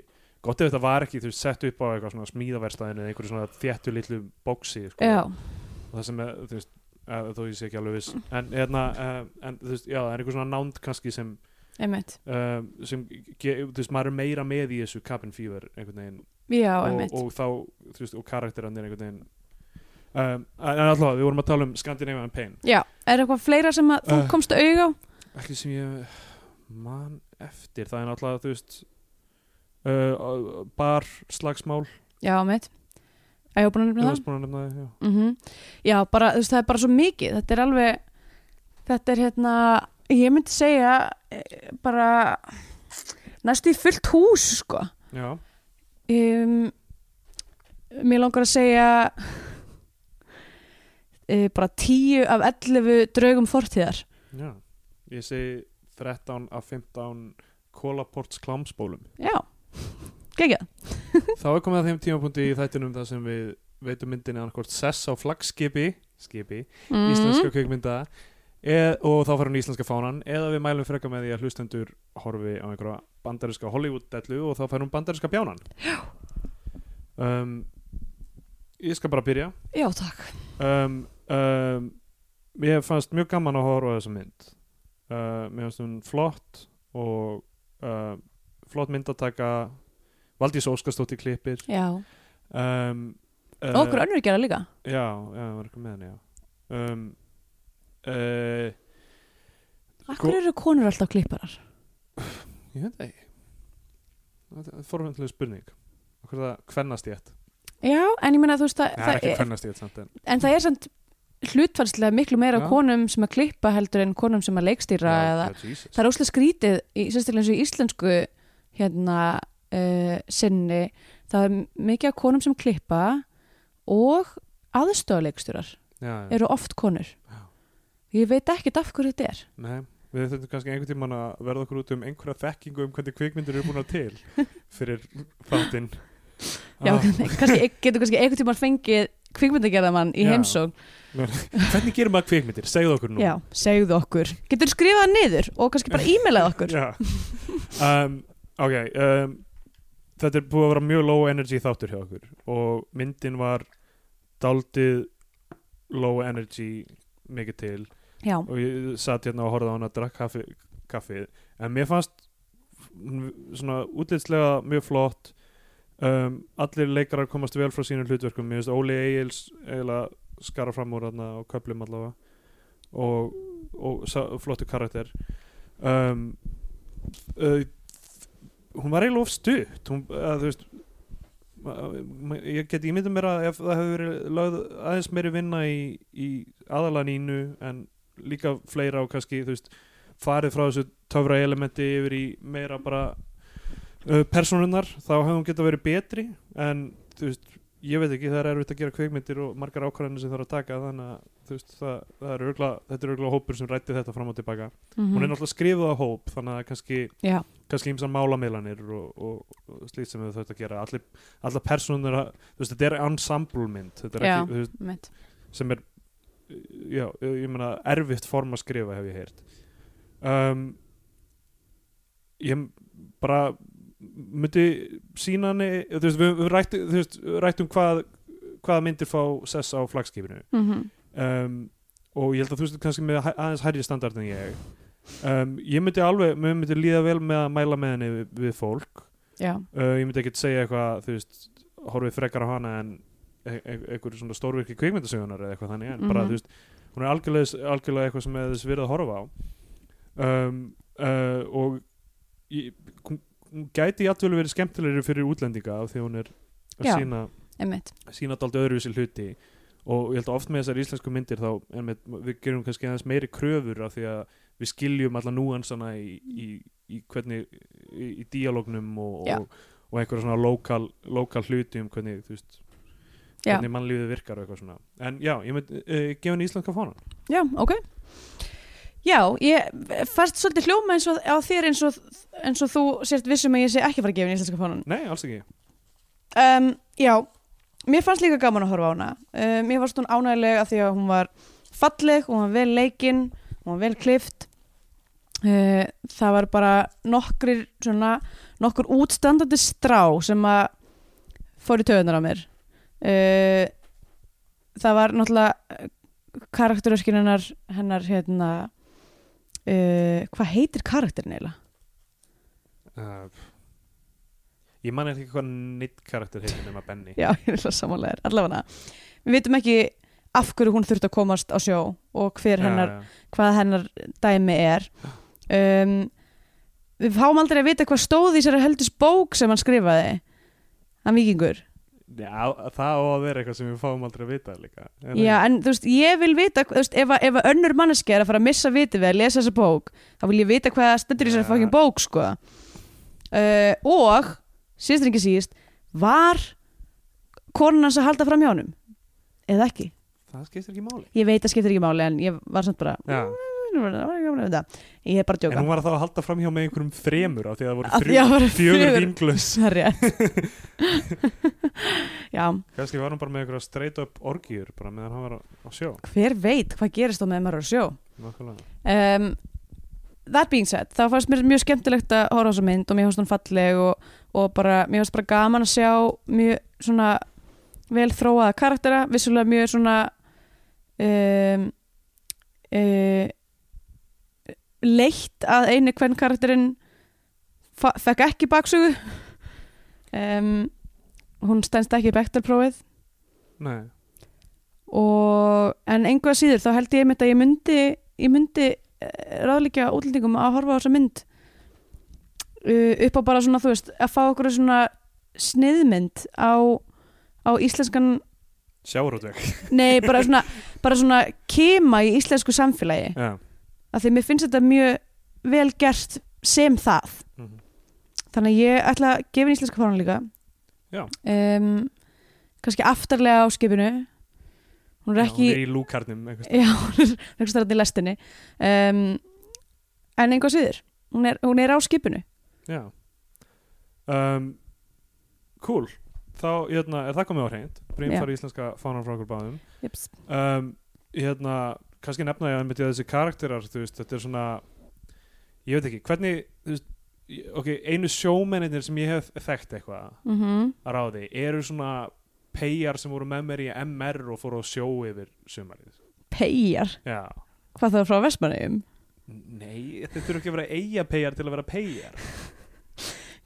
[SPEAKER 3] gott ef þetta var ekki, þú veist, sett upp á eitthvað svona smíðaverstaðinu eða einhverju svona þéttu litlu bóksi, sko,
[SPEAKER 2] já,
[SPEAKER 3] og það sem, er, þú veist Uh, þó ég sé ekki alveg viss en, hérna, uh, en þú veist, já, það er einhver svona nánd kannski sem,
[SPEAKER 2] einmitt
[SPEAKER 3] uh, sem ge, þú veist, maður er meira með í þessu cabin fever einhvern veginn
[SPEAKER 2] já,
[SPEAKER 3] og,
[SPEAKER 2] einmitt,
[SPEAKER 3] og þá, þú veist, og karakterannir einhvern veginn um, en en allavega, við vorum að tala um Scandinavian Pain
[SPEAKER 2] já er eitthvað fleira sem að þú
[SPEAKER 3] Eh.
[SPEAKER 2] komst að auga á?
[SPEAKER 3] ekki sem ég man eftir, það er náttúrulega, þú veist uh, bar slagsmál,
[SPEAKER 2] já, einmitt að ég var búin að
[SPEAKER 3] þú
[SPEAKER 2] nefna það
[SPEAKER 3] veist búin að nefna það já.
[SPEAKER 2] -hmm. Já, bara, þú veist, það er bara svo mikið þetta er alveg þetta er hérna, ég myndi segja eh, bara næstu í fullt hús, sko
[SPEAKER 3] já,
[SPEAKER 2] um, mér langar að segja uh, bara tíu af 11 draugum fortíðar
[SPEAKER 3] já ég segi 13 af 15 kólaports klámsbólum
[SPEAKER 2] já, geggjað
[SPEAKER 3] þá er komið að þeim tímapunkti í þættinum það sem við veitum myndinni annarkvort sess á flagskipi skipi,
[SPEAKER 2] mm.
[SPEAKER 3] íslenska kvikmynda eð, og þá fara hún í íslenska fánan eða við mælum freka með því að hlustendur horfi á einhverja bandariska Hollywood-dellu og þá fær hún bandariska bjánan um, Ég skal bara byrja
[SPEAKER 2] já, takk
[SPEAKER 3] um, um, Ég fannst mjög gaman að horfa á þessa mynd uh, Mér fannst hún flott og uh, flott myndataka Valdís Óskarsdóttir klippir
[SPEAKER 2] já.
[SPEAKER 3] um,
[SPEAKER 2] og okkur önnur gera líka
[SPEAKER 3] Já, já, það var eitthvað með henni, já um, uh, sko-
[SPEAKER 2] akkur eru konur alltaf klipparar
[SPEAKER 3] Ég veit það ekki Þetta er forvendileg spurning Okkur það kvennast ég ett
[SPEAKER 2] já, en ég meina þú veist að
[SPEAKER 3] Það er ekki kvennast ég ett samt en
[SPEAKER 2] en það er samt hlutfælslega miklu meira
[SPEAKER 3] Já.
[SPEAKER 2] konum sem að klippa heldur en konum sem að leikstýra eða, það er óslega skrítið í, sérstaklega eins og í íslensku hérna uh, sinni það er mikið af konum sem klippa og aðstofleikstýrar
[SPEAKER 3] já, já.
[SPEAKER 2] eru oft konur
[SPEAKER 3] Já.
[SPEAKER 2] ég veit ekkert af hverju þetta er
[SPEAKER 3] Nei, Við þurfum kannski einhvern tímann að verða okkur út um einhverja þekkingu um hvernig kvikmyndir eru búin að til fyrir þáttinn Ah,
[SPEAKER 2] Já, nei, kannski, e- getur kannski einhvern tímann fengið kvikmyndagerðamann í
[SPEAKER 3] Já.
[SPEAKER 2] heimsókn
[SPEAKER 3] Hvernig gerum maður kvikmyndir? Segðu okkur nú
[SPEAKER 2] Já, segðu okkur Getur skrifað niður og kannski bara e-mailað okkur
[SPEAKER 3] Já. um, ok um, þetta er búið að vera mjög low energy þáttur hjá okkur og myndin var daldið low energy mikið til
[SPEAKER 2] Já,
[SPEAKER 3] og ég satt hérna og horfði á hana að drakk kaffi, kaffið en mér fannst hún svona útlitslega mjög flott um, allir leikarar komast vel frá sínum hlutverkum mér finnst Óli Egils eiginlega skara fram úr þarna og köplum allavega og, og sa, flottu karakter um, uh, hún var eiginlega of stutt hún, uh, þú veist ma- ma- ég get ímyndað mér að ef það hefur verið lögð aðeins meiri vinna í, í aðalanínu en líka fleira og kannski þú veist, farið frá þessu töfra elementi yfir í meira bara uh, persónunar, þá hefðum geta verið betri en þú veist, ég veit ekki það er erfitt að gera kveikmyndir og margar ákvarðanir sem þarf að taka þannig að þú veist, það, það er örgla, þetta er örgla hópur sem rætti þetta fram og tilbaka
[SPEAKER 2] mhm.
[SPEAKER 3] hún er náttúrulega skrifuð á hóp þannig að kannski,
[SPEAKER 2] Já.
[SPEAKER 3] kannski ymsan málamiðlanir og, og, og slíkt sem þau þetta gera allir, allar persónunar, þú veist, þetta er ensemble mynd, þetta er
[SPEAKER 2] Já.
[SPEAKER 3] ekki, þú veist,
[SPEAKER 2] Einmitt.
[SPEAKER 3] sem er já, ég meina erfitt form að skrifa hef ég heyrt um, ég bara myndi sína henni þú veist, við, við rætt, þú veist, rættum hvað hvaða myndir fá sess á flagskipinu
[SPEAKER 2] Mhm.
[SPEAKER 3] um, og ég held að þú veist kannski með hæ- aðeins hærri standard en ég um, ég myndi alveg, mér myndi líða vel með að mæla með henni við, við fólk
[SPEAKER 2] Já,
[SPEAKER 3] uh, ég myndi ekkert segja eitthvað þú veist, horfið frekar á hana en e- e- einhverju svona stórvirki kvikmyndasögunar eða eitthvað þannig, en bara
[SPEAKER 2] Mhm.
[SPEAKER 3] þú veist hún er algjörlega, algjörlega eitthvað sem er þess verið að horfa á um, uh, og ég, hún, hún gæti játvel verið skemmtilegri fyrir útlendinga af því hún er að
[SPEAKER 2] Já.
[SPEAKER 3] sína
[SPEAKER 2] einmitt
[SPEAKER 3] sína dálítið öðruvísi hluti og ég held að oft með þessar íslensku myndir þá einmitt, við gerum kannski aðeins meiri kröfur af því að við skiljum alla núansana í, í, í hvernig í, í díalógnum og,
[SPEAKER 2] Já.
[SPEAKER 3] og, og einhverja svona lokal, lokal hluti um hvernig, þú veist,
[SPEAKER 2] Já.
[SPEAKER 3] hvernig mannlífið virkar og eitthvað svona en já, ég mynd, uh, gefa henni íslenska fánan
[SPEAKER 2] Já, ok Já, ég fannst svolítið hljóma eins og á þér eins og, eins og þú sért vissum að ég sé ekki að fara að gefa henni íslenska fánan
[SPEAKER 3] nei, alls ekki,
[SPEAKER 2] um, Já, mér fannst líka gaman að horfa á hana um, Mér fannst hún ánægileg að því að hún var falleg, hún var vel leikinn hún var vel klift uh, Það var bara nokkrir svona, nokkur útstandandi strá sem að fór í töðunar á mér uh, það var náttúrulega karakteröskin hennar, hennar hérna uh, hvað heitir karakterin eiginlega?
[SPEAKER 3] uh, ég man ekki hvað neitt karakter heitir nema Benny
[SPEAKER 2] Já, [LAUGHS] ég vil að samanlega er allavega við vitum ekki af hverju hún þurfti að komast á sjó og hver hennar,
[SPEAKER 3] Já, já.
[SPEAKER 2] hvað hennar dæmi er um, við fáum aldrei að vita hvað stóð í sér að heldis bók sem hann skrifaði hann vikingur
[SPEAKER 3] Já, það á að vera eitthvað sem við fáum aldrei að vita líka En-
[SPEAKER 2] Já, en þú veist, ég vil vita þú veist, ef, að- ef að önnur manneski er að fara að missa viti við að lesa þessa bók, þá vil ég vita hvað stendur í þessari
[SPEAKER 3] Ja.
[SPEAKER 2] fokkin bók, sko uh, og síðast en ekki síðast, var konan hans að halda fram hjá honum eða ekki,
[SPEAKER 3] það skiptir ekki máli
[SPEAKER 2] ég veit að skiptir ekki máli en ég var samt bara
[SPEAKER 3] Já.
[SPEAKER 2] ég er bara að
[SPEAKER 3] En
[SPEAKER 2] djóka
[SPEAKER 3] hún var þá að halda fram hjá með einhverjum þremur af því að það voru
[SPEAKER 2] Af því
[SPEAKER 3] þrjú,
[SPEAKER 2] að það voru
[SPEAKER 3] fjögur
[SPEAKER 2] fjögur.
[SPEAKER 3] vinglus
[SPEAKER 2] [LAUGHS] Það er rétt.
[SPEAKER 3] [LAUGHS]
[SPEAKER 2] [LAUGHS] Já,
[SPEAKER 3] Kannski var hún bara með einhverja straight up orgiður bara meðan hann var á- á sjó
[SPEAKER 2] hver veit hvað gerist þá með maður er að sjó
[SPEAKER 3] Nákvæmlega.
[SPEAKER 2] um, That being said, þá fannst mér mjög skemmtilegt að horfa á þessa mynd og mér fannst hún falleg og, og bara, mér fannst bara gaman að sjá mjög svona vel þróaða karaktera, vissulega mjög svona um, uh, leitt að einu hvern karakterinn fa- fekk ekki baksögu um, hún stænst ekki í bektarprófið
[SPEAKER 3] Nei,
[SPEAKER 2] og, en einhvað síður þá held ég einmitt að ég myndi, ég myndi ráðlíkja útlendingum að horfa á þessa mynd uh, upp á bara svona þú veist að fá okkur svona sniðmynd á, á íslenskan
[SPEAKER 3] sjáurútveg
[SPEAKER 2] nei bara
[SPEAKER 3] [LAUGHS]
[SPEAKER 2] svona, bara svona kema í íslensku samfélagi
[SPEAKER 3] Já,
[SPEAKER 2] af því mér finnst þetta mjög vel gert sem það
[SPEAKER 3] Mhm.
[SPEAKER 2] þannig að ég ætla að gefa henni íslenska fánan líka
[SPEAKER 3] Já.
[SPEAKER 2] um, kannski aftarlega á skipinu hún er
[SPEAKER 3] Já, hún
[SPEAKER 2] ekki
[SPEAKER 3] er í lúkarnum einhvers staðar.
[SPEAKER 2] Já, [LAUGHS] hún er einhvers staðar þarna í lestinni um, En einhvað síður hún er, hún er á skipinu
[SPEAKER 3] Já um, Cool Þá, hérna, er það komið á hreint Brím
[SPEAKER 2] Já.
[SPEAKER 3] fara íslenska fánar frá okkur báðum
[SPEAKER 2] Jips.
[SPEAKER 3] um, Hérna, kannski nefna ég að einmitt í þessi karakterar, þú veist, þetta er svona Ég veit ekki, hvernig þú veist, ég- Ok, einu sjómennir sem ég hef þekkt eitthvað
[SPEAKER 2] mm
[SPEAKER 3] að ráði eru svona peyjar sem voru með mér í MR og fóru á sjó yfir sumarið
[SPEAKER 2] Peyjar,
[SPEAKER 3] Já,
[SPEAKER 2] hvað það er frá Vestmanneum
[SPEAKER 3] nei, þetta þurfa ekki að vera eiga peyjar til að vera peyjar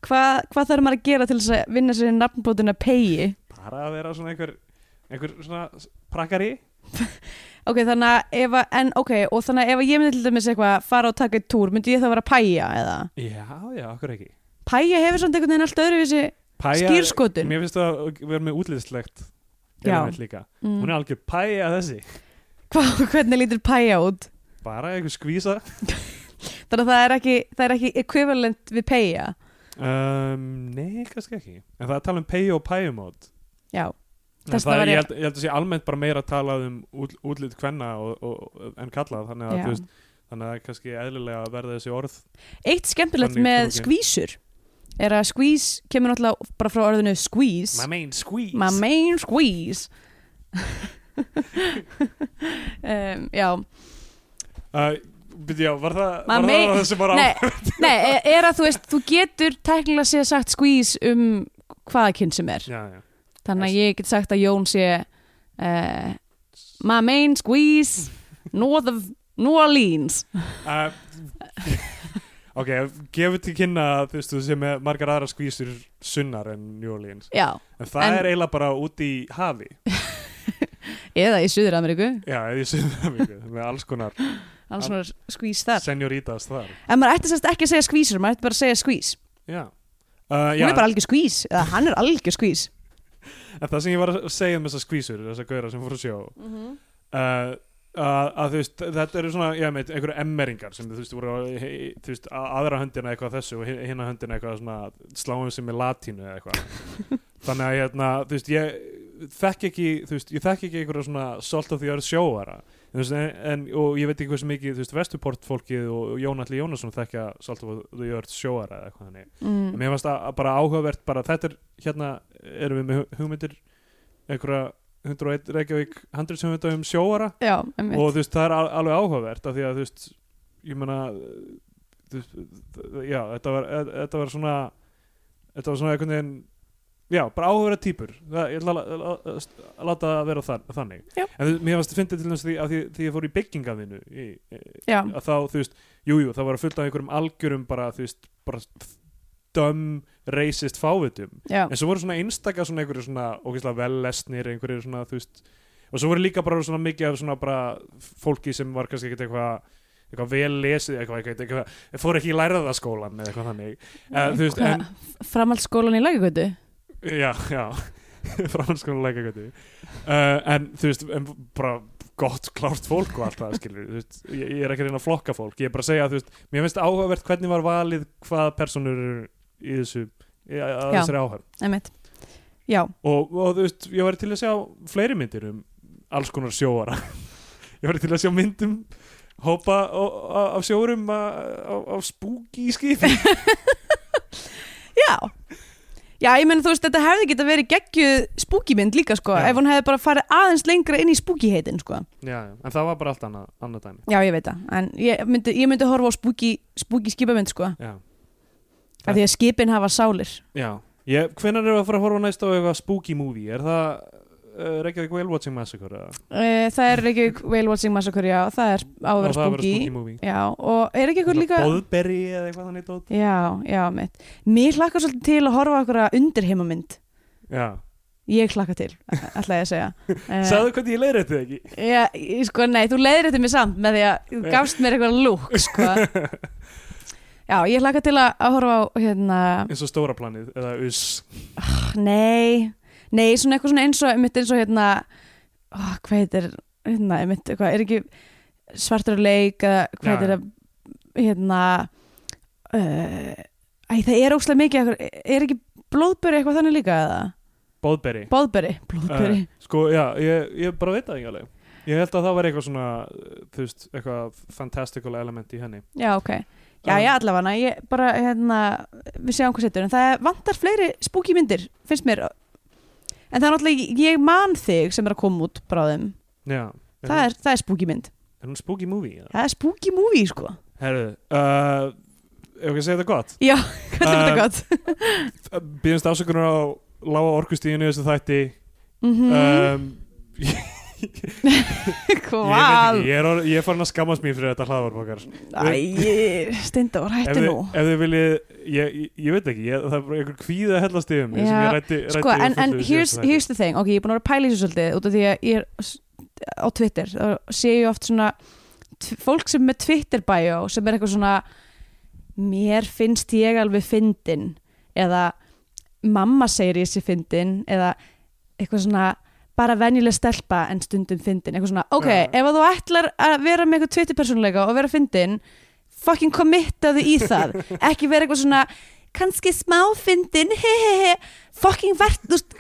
[SPEAKER 2] Hva, Hvað þarf maður að gera til þess að vinna sér í nafnbótina Peyji
[SPEAKER 3] bara að vera svona einhver einhver svona s- prakari
[SPEAKER 2] Ok, þannig að ef að, en ok og þannig að ef að ég myndi til dæmis eitthvað fara og taka eitt túr, myndi ég þá vera að pæja eða
[SPEAKER 3] Já, já, okkur ekki
[SPEAKER 2] Pæja hefur samt einhvern veginn allt öðruvísi
[SPEAKER 3] Pæja,
[SPEAKER 2] skýrskotun
[SPEAKER 3] Mér finnst það að vera með útlýðslegt
[SPEAKER 2] Já.
[SPEAKER 3] líka. Hún
[SPEAKER 2] mm.
[SPEAKER 3] er algjör pæja þessi
[SPEAKER 2] Hva, Hvernig lítur pæja út?
[SPEAKER 3] bara einhver skvísa
[SPEAKER 2] Þannig að það er ekki, það er ekki equivalent við pæja
[SPEAKER 3] um, Nei, kannski ekki En það er að tala um peyju og pæjumót
[SPEAKER 2] Já,
[SPEAKER 3] En
[SPEAKER 2] Þess
[SPEAKER 3] Það
[SPEAKER 2] vegna
[SPEAKER 3] er,
[SPEAKER 2] var
[SPEAKER 3] ég
[SPEAKER 2] ég-
[SPEAKER 3] held, ég held að sé almennt bara meira að tala um út, útlýtt kvenna og, og, en kallað þannig að,
[SPEAKER 2] Já.
[SPEAKER 3] þú veist, þannig að það er kannski eðlilega að verða þessi orð
[SPEAKER 2] Eitt skemmtilegt
[SPEAKER 3] Þannig
[SPEAKER 2] með
[SPEAKER 3] tókin.
[SPEAKER 2] skvísur er að skvís kemur náttúrulega bara frá orðinu skvís
[SPEAKER 3] main squeeze
[SPEAKER 2] My main skvís um, Já
[SPEAKER 3] uh, byrju, já, var það,
[SPEAKER 2] My
[SPEAKER 3] var
[SPEAKER 2] main-
[SPEAKER 3] það það sem var á
[SPEAKER 2] Nei, nei, e- er að þú veist þú getur teknilega sé sagt skvís um hvaða kyn sem er
[SPEAKER 3] já, já.
[SPEAKER 2] þannig að ég get sagt að Jón sé uh, My main skvís North of New Orleans
[SPEAKER 3] Uh, [LAUGHS] ok, gefur til kynna að, þú veist, þú sé með margar aðra skvísur sunnar en New Orleans
[SPEAKER 2] Já,
[SPEAKER 3] en það
[SPEAKER 2] En-
[SPEAKER 3] er eiginlega bara út í
[SPEAKER 2] [LAUGHS]
[SPEAKER 3] hafi
[SPEAKER 2] eða í Suður-Ameríku
[SPEAKER 3] já, eða í Suðameríku með alls konar
[SPEAKER 2] alls svona skvís þar
[SPEAKER 3] senjórítas þar
[SPEAKER 2] En maður ætti sérst ekki að segja skvísur, maður ætti bara að segja skvís
[SPEAKER 3] já, uh,
[SPEAKER 2] Hún er bara algjör skvís, eða hann er algjör skvís
[SPEAKER 3] en það sem ég var að segja um þessar skvísur þessar gauðra sem fór að sjó
[SPEAKER 2] mm -hmm.
[SPEAKER 3] uh, að, að þú veist þetta eru svona, ég veit, einhverju emmeringar sem þú veist, voru á, he- þú veist, að- aðra höndina eitthvað þessu og hin- hinna höndina eitthvað svona sláum sem er latínu eða eitthvað þannig að hérna, þú veist, ég þekk ekki, þú veist, ég þekk ekki einhverja svona salt of the earth sjóara en, þú veist, en, en, og ég veit ekki hversu mikið, þú veist, vestuport fólkið og Jónalli Jónasson þekkja salt of the earth sjóara eða eitthvað þannig
[SPEAKER 2] Mm.
[SPEAKER 3] mér fannst það bara áhugavert bara þetta er hérna erum við með hu- hugmyndir einhverja 101 Reykjavík 100 sem um sjóara
[SPEAKER 2] Já, einmitt.
[SPEAKER 3] og þú veist það er al- alveg áhugavert af því að þú veist ég meina þú veist, þ- já þetta var, e- þetta var svona þetta var svona einhvern veginn já bara áhugavert típur það, ég ætla að la- la- st- að láta það vera þann, þannig
[SPEAKER 2] Já.
[SPEAKER 3] en þú- mér fannst það fyndið til þess því að því, því ég fór í byggingavinu í,
[SPEAKER 2] Já,
[SPEAKER 3] að þá, þú veist, jújú, jú, það var fullt af einhverjum algjörum bara, þú veist, bara dumb, racist fávitum
[SPEAKER 2] já,
[SPEAKER 3] en svo voru svona einstaka svona einhverju svona ógeðslega vellesnir, einhverju svona, þú veist og svo voru líka bara svona mikið af svona bara fólki sem var kannski ekkert eitthvað eitthvað vel lesið, eitthvað, eitthvað, eitthvað fór ekki í læraðaskólan eða eitthvað þannig uh, þú veist, en,
[SPEAKER 2] framhaldsskólan í lagugötu
[SPEAKER 3] já, já [LAUGHS] franskona lækagötu uh, en þú veist, en bara gott klárt fólk og allt það skilur þú veist, ég, ég er ekki að reyna að flokka fólk ég er bara að segja að þú veist, mér finnst áhugavert hvernig var valið hvaða personur eru í þessu í- að
[SPEAKER 2] Já.
[SPEAKER 3] þessari áhugavert
[SPEAKER 2] einmitt Já,
[SPEAKER 3] og, og þú veist, ég væri til að sjá fleiri myndir um alls konar sjóara [LAUGHS] ég væri til að sjá myndum hópa á- á- af sjórum á spúki í skipi
[SPEAKER 2] já Já, ég meina þú veist, þetta hefði geta verið geggjuð spúkimynd líka sko,
[SPEAKER 3] Já.
[SPEAKER 2] ef hún hefði bara farið aðeins lengra inn í spúkiheitin sko
[SPEAKER 3] [LAUGHS] já, já, en það var bara allt annað, annað dæmi
[SPEAKER 2] Já, ég veit það, en ég myndi, ég myndi horfa á spúki, spúki skipamynd sko,
[SPEAKER 3] já,
[SPEAKER 2] af því að skipin hafa sálir
[SPEAKER 3] já ég, hvenær erum við að fara að horfa næst á eitthvað spooky movie er það uh, Reykjavík Whale Watching Massacre eða?
[SPEAKER 2] uh, Það er Reykjavík Whale Watching Massacre, já, það er á að vera
[SPEAKER 3] Já, það var
[SPEAKER 2] spúki
[SPEAKER 3] spooky movie
[SPEAKER 2] Já, og er ekki eitthvað líka
[SPEAKER 3] Bóðberri eða eitthvað þannig dót
[SPEAKER 2] Já, já, mitt Mér hlakkar svolítið til að horfa á einhverja undirheimamynd
[SPEAKER 3] já.
[SPEAKER 2] Ég hlakka til, ætla ég að segja Eh,
[SPEAKER 3] sagðu hvernig ég leiði þetta ekki
[SPEAKER 2] Já, ég- sko, nei, þú leiðir þetta mér samt með því að þú gafst mér eitthvað lúk, sko. Já, ég hlaka til að, að horfa á, hérna,
[SPEAKER 3] eins og stóra planið eða us
[SPEAKER 2] nei, nei, svona eitthvað svona eins og, mitt eins og, hérna, ó, hvað heitir, hérna, mitt, eitthvað, er ekki svartur á leik eða hvað
[SPEAKER 3] Já.
[SPEAKER 2] heitir það, hérna, uh, æ, það er óslega mikið, eitthvað- er ekki blóðböri eitthvað þannig líka, eða?
[SPEAKER 3] Bóðberri
[SPEAKER 2] Bóðböri, blóðböri.
[SPEAKER 3] Eh, sko, já, ég, ég bara veit það ekki alveg ég held að það var eitthvað svona uh, þú veist, eitthvað fantastical element í henni
[SPEAKER 2] Já, ok. Já, já, allavega, ég bara, hérna, við séum hvað setur, en það vantar fleiri spooky myndir, finnst mér. En það er náttúrulega, ég man þig sem er að koma út bráðum.
[SPEAKER 3] já,
[SPEAKER 2] Það er, það er spooky mynd.
[SPEAKER 3] er hún spooky movie? Ja?
[SPEAKER 2] Það er spooky movie, sko.
[SPEAKER 3] herru, uh, ef ekki að segja þetta gott
[SPEAKER 2] Já, hvað er
[SPEAKER 3] Um,
[SPEAKER 2] þetta gott?
[SPEAKER 3] býðumst ásökunar á lága orkustíðinu þessu þætti
[SPEAKER 2] Mhm,
[SPEAKER 3] um, ég, veit
[SPEAKER 2] [LAUGHS] Hvað?
[SPEAKER 3] ekki, ég, er, orð- ég er farin að skammast mín fyrir þetta hlaðvarpokar
[SPEAKER 2] Æ, Steindór,
[SPEAKER 3] ef,
[SPEAKER 2] hættu
[SPEAKER 3] þið-
[SPEAKER 2] nú.
[SPEAKER 3] ef þið viljið ég, ég, ég veit ekki, ég, það er bara einhver kvíða að hellast yfir mig sem
[SPEAKER 2] Já,
[SPEAKER 3] ég rætti, rætti
[SPEAKER 2] Sko, en,
[SPEAKER 3] fullu
[SPEAKER 2] en
[SPEAKER 3] í
[SPEAKER 2] here's,
[SPEAKER 3] síðasta þætti.
[SPEAKER 2] here's the thing, ok, ég er búin að vera að pæla í þessu svolítið út af því að ég er s- á Twitter, þá sé ég oft svona t- fólk sem er með Twitter bio sem er eitthvað svona mér finnst ég alveg fyndin eða mamma segir ég sé fyndin eða eitthvað svona bara venjuleg stelpa en stundum fyndin eitthvað svona, ok,
[SPEAKER 3] Já.
[SPEAKER 2] ef að þú ætlar að vera með eitthvað Twitter persónuleika og vera fyndin fucking committaðu í það ekki vera eitthvað svona kannski smá fyndin hehehe, fucking vert þú veist,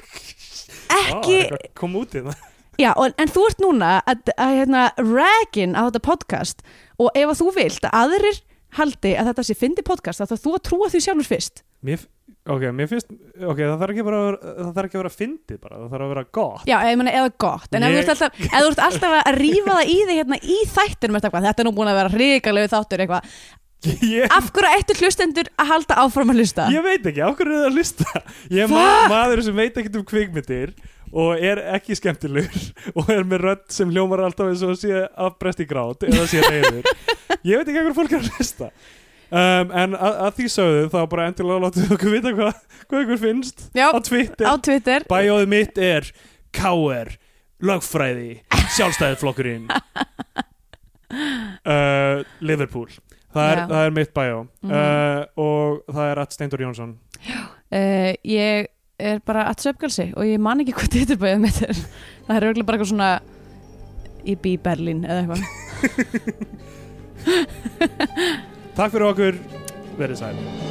[SPEAKER 3] Vá,
[SPEAKER 2] ekki
[SPEAKER 3] eitthvað kom út í það
[SPEAKER 2] Já, en, en þú ert núna að, að hérna, ragin á þetta podcast og ef að þú vilt að aðrir haldi að þetta sé fyndi podcast þá þarf þú að trúa því sjálfur fyrst
[SPEAKER 3] Mér, f- ok, mér finnst ok, það þarf ekki bara að vera- það þarf ekki að vera fyndið bara, það þarf að vera gott [LAUGHS]
[SPEAKER 2] Já, eða, ég meina, eða gott en ef,
[SPEAKER 3] Ég-
[SPEAKER 2] þú ert alltaf, ef þú ert alltaf að rífa það í þig hérna, í þættinum eitthvað, þetta er nú búin að vera hrikalegu þáttur eitthvað
[SPEAKER 3] ég,
[SPEAKER 2] af hverju ættu hlustendur að halda áfram að hlusta
[SPEAKER 3] ég veit ekki, á hverju er það að hlusta ég er ma maður sem veit ekkert um kvikmyndir og er ekki skemmtilegur og er með rödd sem hljómar alltaf eins og sé afbrest í grát eða sé reyður ég veit ekki að hverju fólk er að hlusta um, en að, að því sögðu þá bara endilega látið okkur vita hvað hvað ykkur finnst
[SPEAKER 2] Já,
[SPEAKER 3] á Twitter
[SPEAKER 2] á Twitter
[SPEAKER 3] Bæjóðið mitt er K.R. Lögfræði Sjálfstæðiflokkurinn
[SPEAKER 2] [LAUGHS]
[SPEAKER 3] uh, Liverpool það er,
[SPEAKER 2] Já.
[SPEAKER 3] það er mitt bæjó
[SPEAKER 2] Mhm.
[SPEAKER 3] uh, og það er at Steindur Jónsson
[SPEAKER 2] uh, Ég er bara að söpgalsi og ég man ekki [LAUGHS] hvað titurbæðið mitt er það er auðvitað bara eitthvað svona ég bý í Berlín eða eitthvað
[SPEAKER 3] Takk fyrir okkur, verið sæl